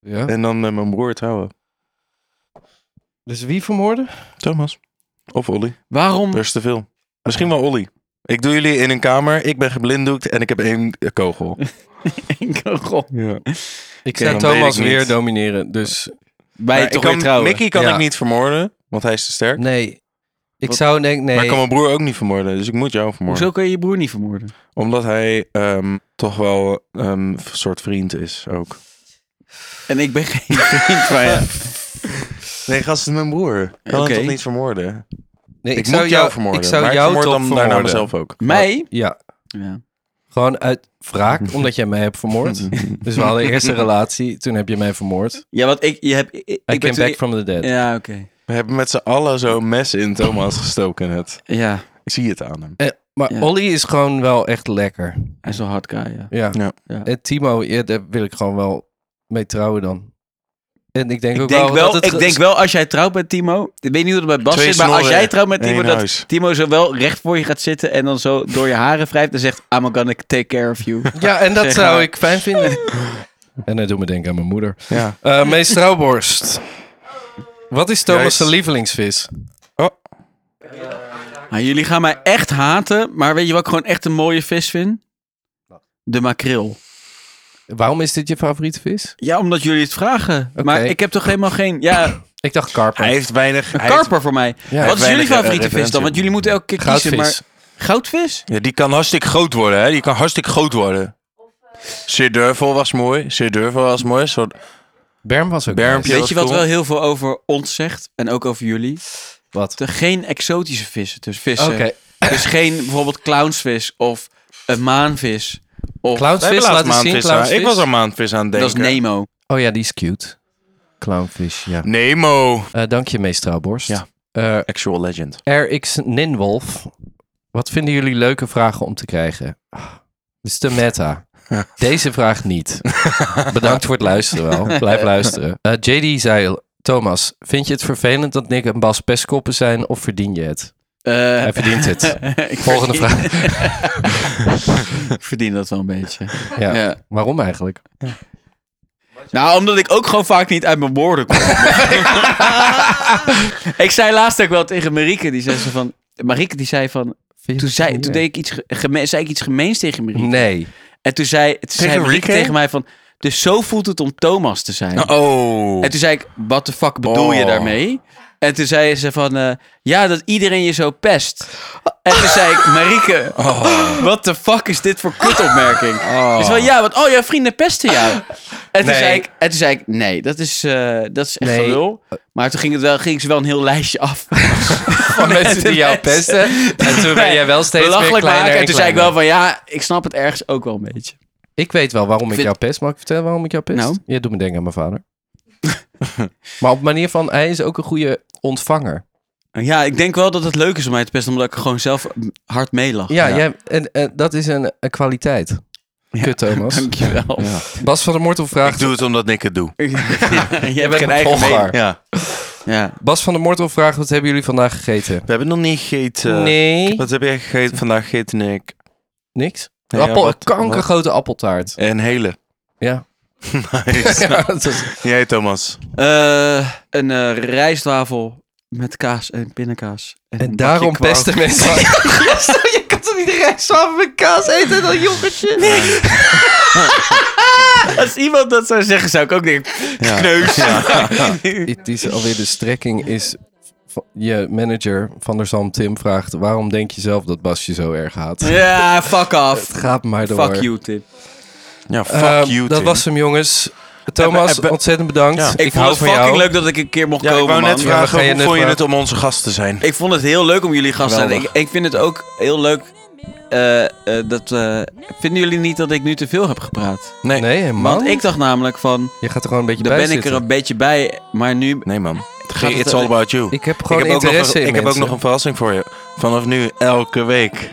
[SPEAKER 3] Eh.
[SPEAKER 1] Ja.
[SPEAKER 2] En dan met mijn broer trouwen.
[SPEAKER 1] Dus wie vermoorden?
[SPEAKER 2] Thomas. Of Olly.
[SPEAKER 3] Waarom?
[SPEAKER 2] Er is te veel. Misschien wel Olly. Ik doe jullie in een kamer. Ik ben geblinddoekt en ik heb één eh, kogel.
[SPEAKER 3] God.
[SPEAKER 2] Ja.
[SPEAKER 1] Ik
[SPEAKER 2] Oké,
[SPEAKER 1] zou
[SPEAKER 2] dan weet
[SPEAKER 1] Thomas
[SPEAKER 2] ik niet.
[SPEAKER 1] weer domineren. Dus
[SPEAKER 3] Wij toch weer trouwen.
[SPEAKER 2] Mickey kan
[SPEAKER 1] Ja.
[SPEAKER 2] ik niet vermoorden, want hij is te sterk.
[SPEAKER 1] nee. Ik
[SPEAKER 2] Wat?
[SPEAKER 1] zou denk nee.
[SPEAKER 2] Maar ik kan mijn broer ook niet vermoorden, dus ik moet jou vermoorden.
[SPEAKER 3] Hoezo kun je je broer niet vermoorden?
[SPEAKER 2] Omdat hij ehm, toch wel ehm, een soort vriend is ook.
[SPEAKER 3] En ik ben geen vriend van je.
[SPEAKER 2] Nee, gast, het is mijn broer. Ik kan
[SPEAKER 3] Oké.
[SPEAKER 2] hem toch niet vermoorden?
[SPEAKER 1] nee,
[SPEAKER 2] Ik, moet jou vermoorden.
[SPEAKER 1] Ik zou
[SPEAKER 2] maar
[SPEAKER 1] jou
[SPEAKER 2] ik vermoord
[SPEAKER 1] toch
[SPEAKER 2] dan daarna
[SPEAKER 1] vermoorden.
[SPEAKER 2] mezelf ook.
[SPEAKER 3] Mij?
[SPEAKER 1] Ja.
[SPEAKER 3] Ja.
[SPEAKER 1] Gewoon uit wraak, omdat jij mij hebt vermoord. Dus we hadden eerst een relatie, toen heb je mij vermoord. I
[SPEAKER 3] Ja, want ik, je hebt... Ik, ik ben
[SPEAKER 1] came
[SPEAKER 3] toen-
[SPEAKER 1] back from the dead.
[SPEAKER 3] Ja, oké.
[SPEAKER 2] We hebben met z'n allen zo'n mes in Thomas gestoken. Het.
[SPEAKER 3] Ja,
[SPEAKER 2] Ik zie het aan hem.
[SPEAKER 1] Eh, maar
[SPEAKER 3] Ja.
[SPEAKER 1] Olly is gewoon wel echt lekker.
[SPEAKER 3] hij is wel hard guy, ja.
[SPEAKER 1] Ja.
[SPEAKER 2] Ja.
[SPEAKER 3] Ja.
[SPEAKER 1] En Timo, ja, daar wil ik gewoon wel mee trouwen dan. En ik denk
[SPEAKER 3] Ik
[SPEAKER 1] ook
[SPEAKER 3] denk,
[SPEAKER 1] wel dat
[SPEAKER 3] wel,
[SPEAKER 1] het...
[SPEAKER 3] ik denk wel, als jij trouwt met Timo... Ik weet niet hoe het bij Bas
[SPEAKER 2] Twee
[SPEAKER 3] zit, maar als
[SPEAKER 2] snorren,
[SPEAKER 3] jij trouwt met
[SPEAKER 2] één
[SPEAKER 3] Timo... Dat
[SPEAKER 2] huis.
[SPEAKER 3] Timo zo wel recht voor je gaat zitten en dan zo door je haren wrijft... en zegt, I'm gonna take care of you.
[SPEAKER 1] Ja, en dat
[SPEAKER 3] Zeg
[SPEAKER 1] zou
[SPEAKER 3] maar.
[SPEAKER 1] ik fijn vinden. en dat doet me denken aan mijn moeder.
[SPEAKER 2] Ja.
[SPEAKER 1] Eh mees Trouwborst. Wat is Thomas'
[SPEAKER 2] Juist.
[SPEAKER 1] zijn lievelingsvis?
[SPEAKER 3] Nou, jullie gaan mij echt haten, maar weet je wat ik gewoon echt een mooie vis vind? De makreel.
[SPEAKER 1] Waarom is dit je favoriete vis?
[SPEAKER 3] Ja, omdat jullie het vragen. Maar ik heb toch helemaal geen... Ja,
[SPEAKER 1] Ik dacht karper.
[SPEAKER 2] Hij heeft weinig... hij heeft-
[SPEAKER 3] karper voor mij. wat is
[SPEAKER 2] weinig,
[SPEAKER 3] jullie
[SPEAKER 2] eh,
[SPEAKER 3] favoriete vis
[SPEAKER 2] referentie.
[SPEAKER 3] dan? Want jullie moeten elke keer kiezen. Maar...
[SPEAKER 1] Goudvis.
[SPEAKER 3] Goudvis?
[SPEAKER 2] Ja, die kan hartstikke groot worden, hè? Die kan hartstikke groot worden. Sir Durvel was mooi. Sir Durvel was mooi. Een soort
[SPEAKER 1] Berm was ook
[SPEAKER 2] Bermpje.
[SPEAKER 1] nice.
[SPEAKER 3] Weet je wat
[SPEAKER 2] cool.
[SPEAKER 3] wel heel veel over ons zegt? En ook over jullie?
[SPEAKER 1] Wat?
[SPEAKER 3] Er geen exotische vissen. Dus vissen.
[SPEAKER 1] Oké.
[SPEAKER 3] Dus geen bijvoorbeeld clownsvis of een maanvis. Of,
[SPEAKER 2] We hebben
[SPEAKER 1] Clownvis, laat eens
[SPEAKER 2] laatst
[SPEAKER 1] zien.
[SPEAKER 2] maandvis aan-
[SPEAKER 1] Clownvis.
[SPEAKER 2] Ik was er maandvis aan het
[SPEAKER 3] dat is
[SPEAKER 2] denken.
[SPEAKER 3] Nemo.
[SPEAKER 1] Oh ja, die is cute. Clownvis, ja.
[SPEAKER 2] Nemo.
[SPEAKER 1] Eh, dank je, mees Trouwborst.
[SPEAKER 2] Ja.
[SPEAKER 1] Eh,
[SPEAKER 2] Actual legend.
[SPEAKER 1] RX Ninwolf. Wat vinden jullie leuke vragen om te krijgen? Ah, Dit is de meta. Deze vraag niet. Bedankt voor het luisteren wel. Blijf luisteren. Eh, JD zei, Thomas, vind je het vervelend dat Nick en Bas pestkoppen zijn of verdien je het?
[SPEAKER 3] Eh,
[SPEAKER 1] Hij verdient het. Volgende vraag.
[SPEAKER 3] Ik verdien dat wel een beetje.
[SPEAKER 1] Ja.
[SPEAKER 3] Ja.
[SPEAKER 1] Waarom eigenlijk?
[SPEAKER 3] Nou, omdat ik ook gewoon vaak niet uit mijn woorden kom. ik zei laatst ook wel tegen Marieke, die zei zo van... Marieke die zei van... Toen, zei, toen deed ik iets, ge- geme- zei ik iets gemeens tegen Marieke.
[SPEAKER 1] Nee.
[SPEAKER 3] En toen zei, toen zei
[SPEAKER 2] Tegen
[SPEAKER 3] Marieke
[SPEAKER 2] Marieke?
[SPEAKER 3] tegen mij van... Dus zo voelt het om Thomas te zijn.
[SPEAKER 2] Oh.
[SPEAKER 3] En toen zei ik, wat de fuck bedoel je
[SPEAKER 2] Oh.
[SPEAKER 3] daarmee? En toen zei ze van, eh, ja, dat iedereen je zo pest. En toen zei ik, Marieke, wat de fuck is dit voor kutopmerking? Dus van, ja, want, oh, jouw vrienden pesten jou. En toen,
[SPEAKER 1] Nee.
[SPEAKER 3] zei, ik, en toen zei ik, nee, dat is, eh, dat is echt
[SPEAKER 1] Nee.
[SPEAKER 3] gelul. Maar toen ging, het wel, ging ze wel een heel lijstje af.
[SPEAKER 1] Van mensen die jou
[SPEAKER 3] mensen.
[SPEAKER 1] pesten. En toen ben jij wel steeds meer
[SPEAKER 3] Belachelijk
[SPEAKER 1] kleiner
[SPEAKER 3] maken. En
[SPEAKER 1] en
[SPEAKER 3] toen zei ik
[SPEAKER 1] kleiner.
[SPEAKER 3] wel van, ja, ik snap het ergens ook wel een beetje.
[SPEAKER 1] Ik weet wel waarom ik
[SPEAKER 3] vind-
[SPEAKER 1] jou pest. Mag ik vertellen waarom ik jou pest?
[SPEAKER 3] Nou?
[SPEAKER 1] Je doet me denken aan mijn vader. maar op manier van, hij is ook een goede ontvanger.
[SPEAKER 3] Ja, ik denk wel dat het leuk is om mij te pesten, omdat ik er gewoon zelf hard mee lag.
[SPEAKER 1] Ja, Jij, en, en dat is een, een kwaliteit. Kut, Thomas.
[SPEAKER 3] Dankjewel. Ja.
[SPEAKER 1] Bas van der Mortel
[SPEAKER 2] Ik
[SPEAKER 1] vraagt...
[SPEAKER 2] doe het omdat ik het doe.
[SPEAKER 3] Jij bent
[SPEAKER 1] een
[SPEAKER 3] geen eigen mening.
[SPEAKER 1] volgaar.
[SPEAKER 2] Ja.
[SPEAKER 3] Ja.
[SPEAKER 1] Bas van der Mortel vraagt, wat hebben jullie vandaag gegeten?
[SPEAKER 2] We hebben nog niet gegeten.
[SPEAKER 1] nee.
[SPEAKER 2] Wat heb jij gegeten vandaag gegeten, Nick?
[SPEAKER 1] Niks?
[SPEAKER 2] Nee,
[SPEAKER 1] Appel,
[SPEAKER 2] wat-
[SPEAKER 1] kankergrote appeltaart.
[SPEAKER 2] Een hele.
[SPEAKER 1] Ja.
[SPEAKER 2] Nice.
[SPEAKER 1] Ja, dat is-
[SPEAKER 2] Jij, Thomas.
[SPEAKER 3] Eh, een eh, rijstwafel met kaas en pindakaas. een
[SPEAKER 1] En
[SPEAKER 3] bakje
[SPEAKER 1] daarom
[SPEAKER 3] kwark.
[SPEAKER 1] pesten mensen. je kan toch niet rijstwafel met kaas eten dan jongetje?
[SPEAKER 3] Als iemand dat zou zeggen, zou ik ook denken...
[SPEAKER 2] Ja.
[SPEAKER 3] Kneus.
[SPEAKER 1] Het is alweer de strekking is... van- Je manager van der Zalm Tim vraagt... waarom denk je zelf dat Bas je zo erg haat?
[SPEAKER 3] Ja, fuck off.
[SPEAKER 1] Gaat maar door.
[SPEAKER 3] Fuck you, Tim.
[SPEAKER 2] Ja, fuck
[SPEAKER 1] Ehm,
[SPEAKER 2] you,
[SPEAKER 1] dat
[SPEAKER 2] Tim.
[SPEAKER 1] was hem, jongens. Thomas,
[SPEAKER 2] Eh, eh, eh,
[SPEAKER 1] ontzettend bedankt.
[SPEAKER 2] Ja.
[SPEAKER 1] Ik,
[SPEAKER 3] Ik, vond
[SPEAKER 1] hou
[SPEAKER 3] het
[SPEAKER 1] van
[SPEAKER 3] fucking
[SPEAKER 1] jou.
[SPEAKER 3] leuk dat ik een keer mocht
[SPEAKER 2] Ja, ik
[SPEAKER 3] komen,
[SPEAKER 2] wou net
[SPEAKER 3] man.
[SPEAKER 1] Ja, we
[SPEAKER 2] vragen,
[SPEAKER 1] gaan je
[SPEAKER 2] hoe
[SPEAKER 1] net
[SPEAKER 2] vond je het
[SPEAKER 1] vragen.
[SPEAKER 2] om onze gast te zijn?
[SPEAKER 3] Ik vond het heel leuk om jullie gast te zijn. Ik,
[SPEAKER 2] Geweldig.
[SPEAKER 3] ik vind het ook heel leuk... eh, eh, dat, eh, vinden jullie niet dat ik nu te veel heb gepraat?
[SPEAKER 1] Nee, helemaal.
[SPEAKER 3] Want ik dacht namelijk van...
[SPEAKER 1] Je gaat er gewoon een beetje
[SPEAKER 3] Daar
[SPEAKER 1] bij
[SPEAKER 3] ben ik er
[SPEAKER 1] zitten.
[SPEAKER 3] een beetje bij, maar nu...
[SPEAKER 2] Nee, man.
[SPEAKER 3] Gaat het-
[SPEAKER 2] It's all about you.
[SPEAKER 1] Ik heb gewoon
[SPEAKER 2] ik heb, ook nog,
[SPEAKER 1] interesse
[SPEAKER 2] een-
[SPEAKER 1] in
[SPEAKER 2] ik heb ook
[SPEAKER 1] mensen.
[SPEAKER 2] nog een verrassing voor je. Vanaf nu, elke week,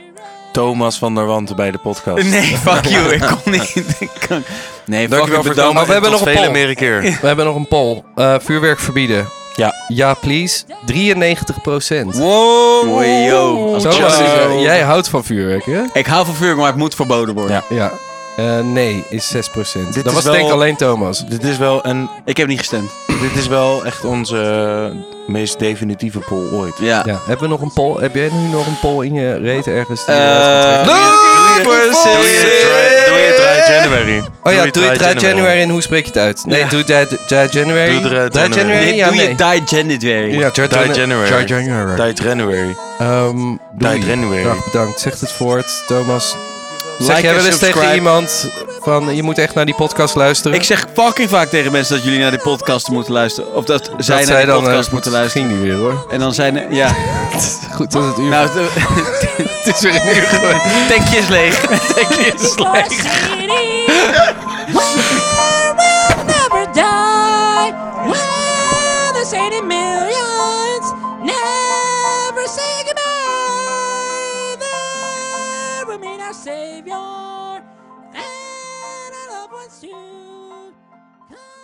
[SPEAKER 2] Thomas van der Wand bij de podcast.
[SPEAKER 3] Nee, fuck you. Ik kon niet. Ik kan... Nee, fuck
[SPEAKER 2] Dankjewel
[SPEAKER 3] you.
[SPEAKER 2] voor het
[SPEAKER 3] Bedankt.
[SPEAKER 2] komen.
[SPEAKER 1] Maar we
[SPEAKER 2] en
[SPEAKER 1] hebben
[SPEAKER 2] tot
[SPEAKER 1] nog een
[SPEAKER 2] vele
[SPEAKER 1] poll.
[SPEAKER 2] meer keer.
[SPEAKER 1] We hebben nog een poll. Eh, vuurwerk verbieden.
[SPEAKER 2] Ja.
[SPEAKER 1] Ja, please. 93 procent.
[SPEAKER 3] Wow. yo. Als
[SPEAKER 1] Thomas,
[SPEAKER 3] Justin-
[SPEAKER 1] is, eh, jij houdt van vuurwerk, hè?
[SPEAKER 3] Ik hou van vuur, maar het moet verboden worden.
[SPEAKER 2] Ja.
[SPEAKER 1] Ja. Eh, nee, is 6 procent.
[SPEAKER 2] Dit
[SPEAKER 1] Dat
[SPEAKER 2] is
[SPEAKER 1] was
[SPEAKER 2] wel-
[SPEAKER 1] denk ik alleen Thomas.
[SPEAKER 2] Dit is wel een,
[SPEAKER 3] Ik heb niet gestemd.
[SPEAKER 2] dit is wel echt onze meest definitieve poll ooit.
[SPEAKER 3] Ja.
[SPEAKER 1] Ja. Hebben we nog een poll? Heb jij nu nog een poll in je reet ergens? Die je uit gaat trekken?
[SPEAKER 3] Eh, doe je- doe je-
[SPEAKER 2] Doe je doe je dry January.
[SPEAKER 1] Oh ja, doe je 3 January en hoe spreek je het uit? Nee, doe 3 January.
[SPEAKER 2] Doe 3
[SPEAKER 1] 3 January?
[SPEAKER 2] January.
[SPEAKER 3] Nee,
[SPEAKER 1] Ja,
[SPEAKER 3] doe je
[SPEAKER 1] nee.
[SPEAKER 3] die January.
[SPEAKER 1] Ja, 3
[SPEAKER 2] Dry January.
[SPEAKER 1] Dry January.
[SPEAKER 2] Dry January.
[SPEAKER 1] Ehm, doei.
[SPEAKER 2] Dry January.
[SPEAKER 1] Dag, bedankt. Zegt het voort, Thomas. Zeg
[SPEAKER 3] Like
[SPEAKER 1] jij
[SPEAKER 3] en
[SPEAKER 1] wel eens tegen
[SPEAKER 3] subscribe.
[SPEAKER 1] iemand van je moet echt naar die podcast luisteren?
[SPEAKER 3] Ik zeg fucking vaak tegen mensen dat jullie naar die podcast moeten luisteren. Of dat, zij naar
[SPEAKER 1] dat zij
[SPEAKER 3] die
[SPEAKER 1] dan
[SPEAKER 3] podcast
[SPEAKER 1] eh,
[SPEAKER 3] moeten luisteren.
[SPEAKER 1] Ging niet weer hoor.
[SPEAKER 3] En dan zijn er... Ja.
[SPEAKER 1] Goed, dat is het uur.
[SPEAKER 3] Nou, het
[SPEAKER 1] het is weer een uur geworden.
[SPEAKER 3] tankje is leeg. Tankje is leeg.
[SPEAKER 8] will never die. Well, the 80 millions never say goodbye. There will meet our Savior and our loved ones too.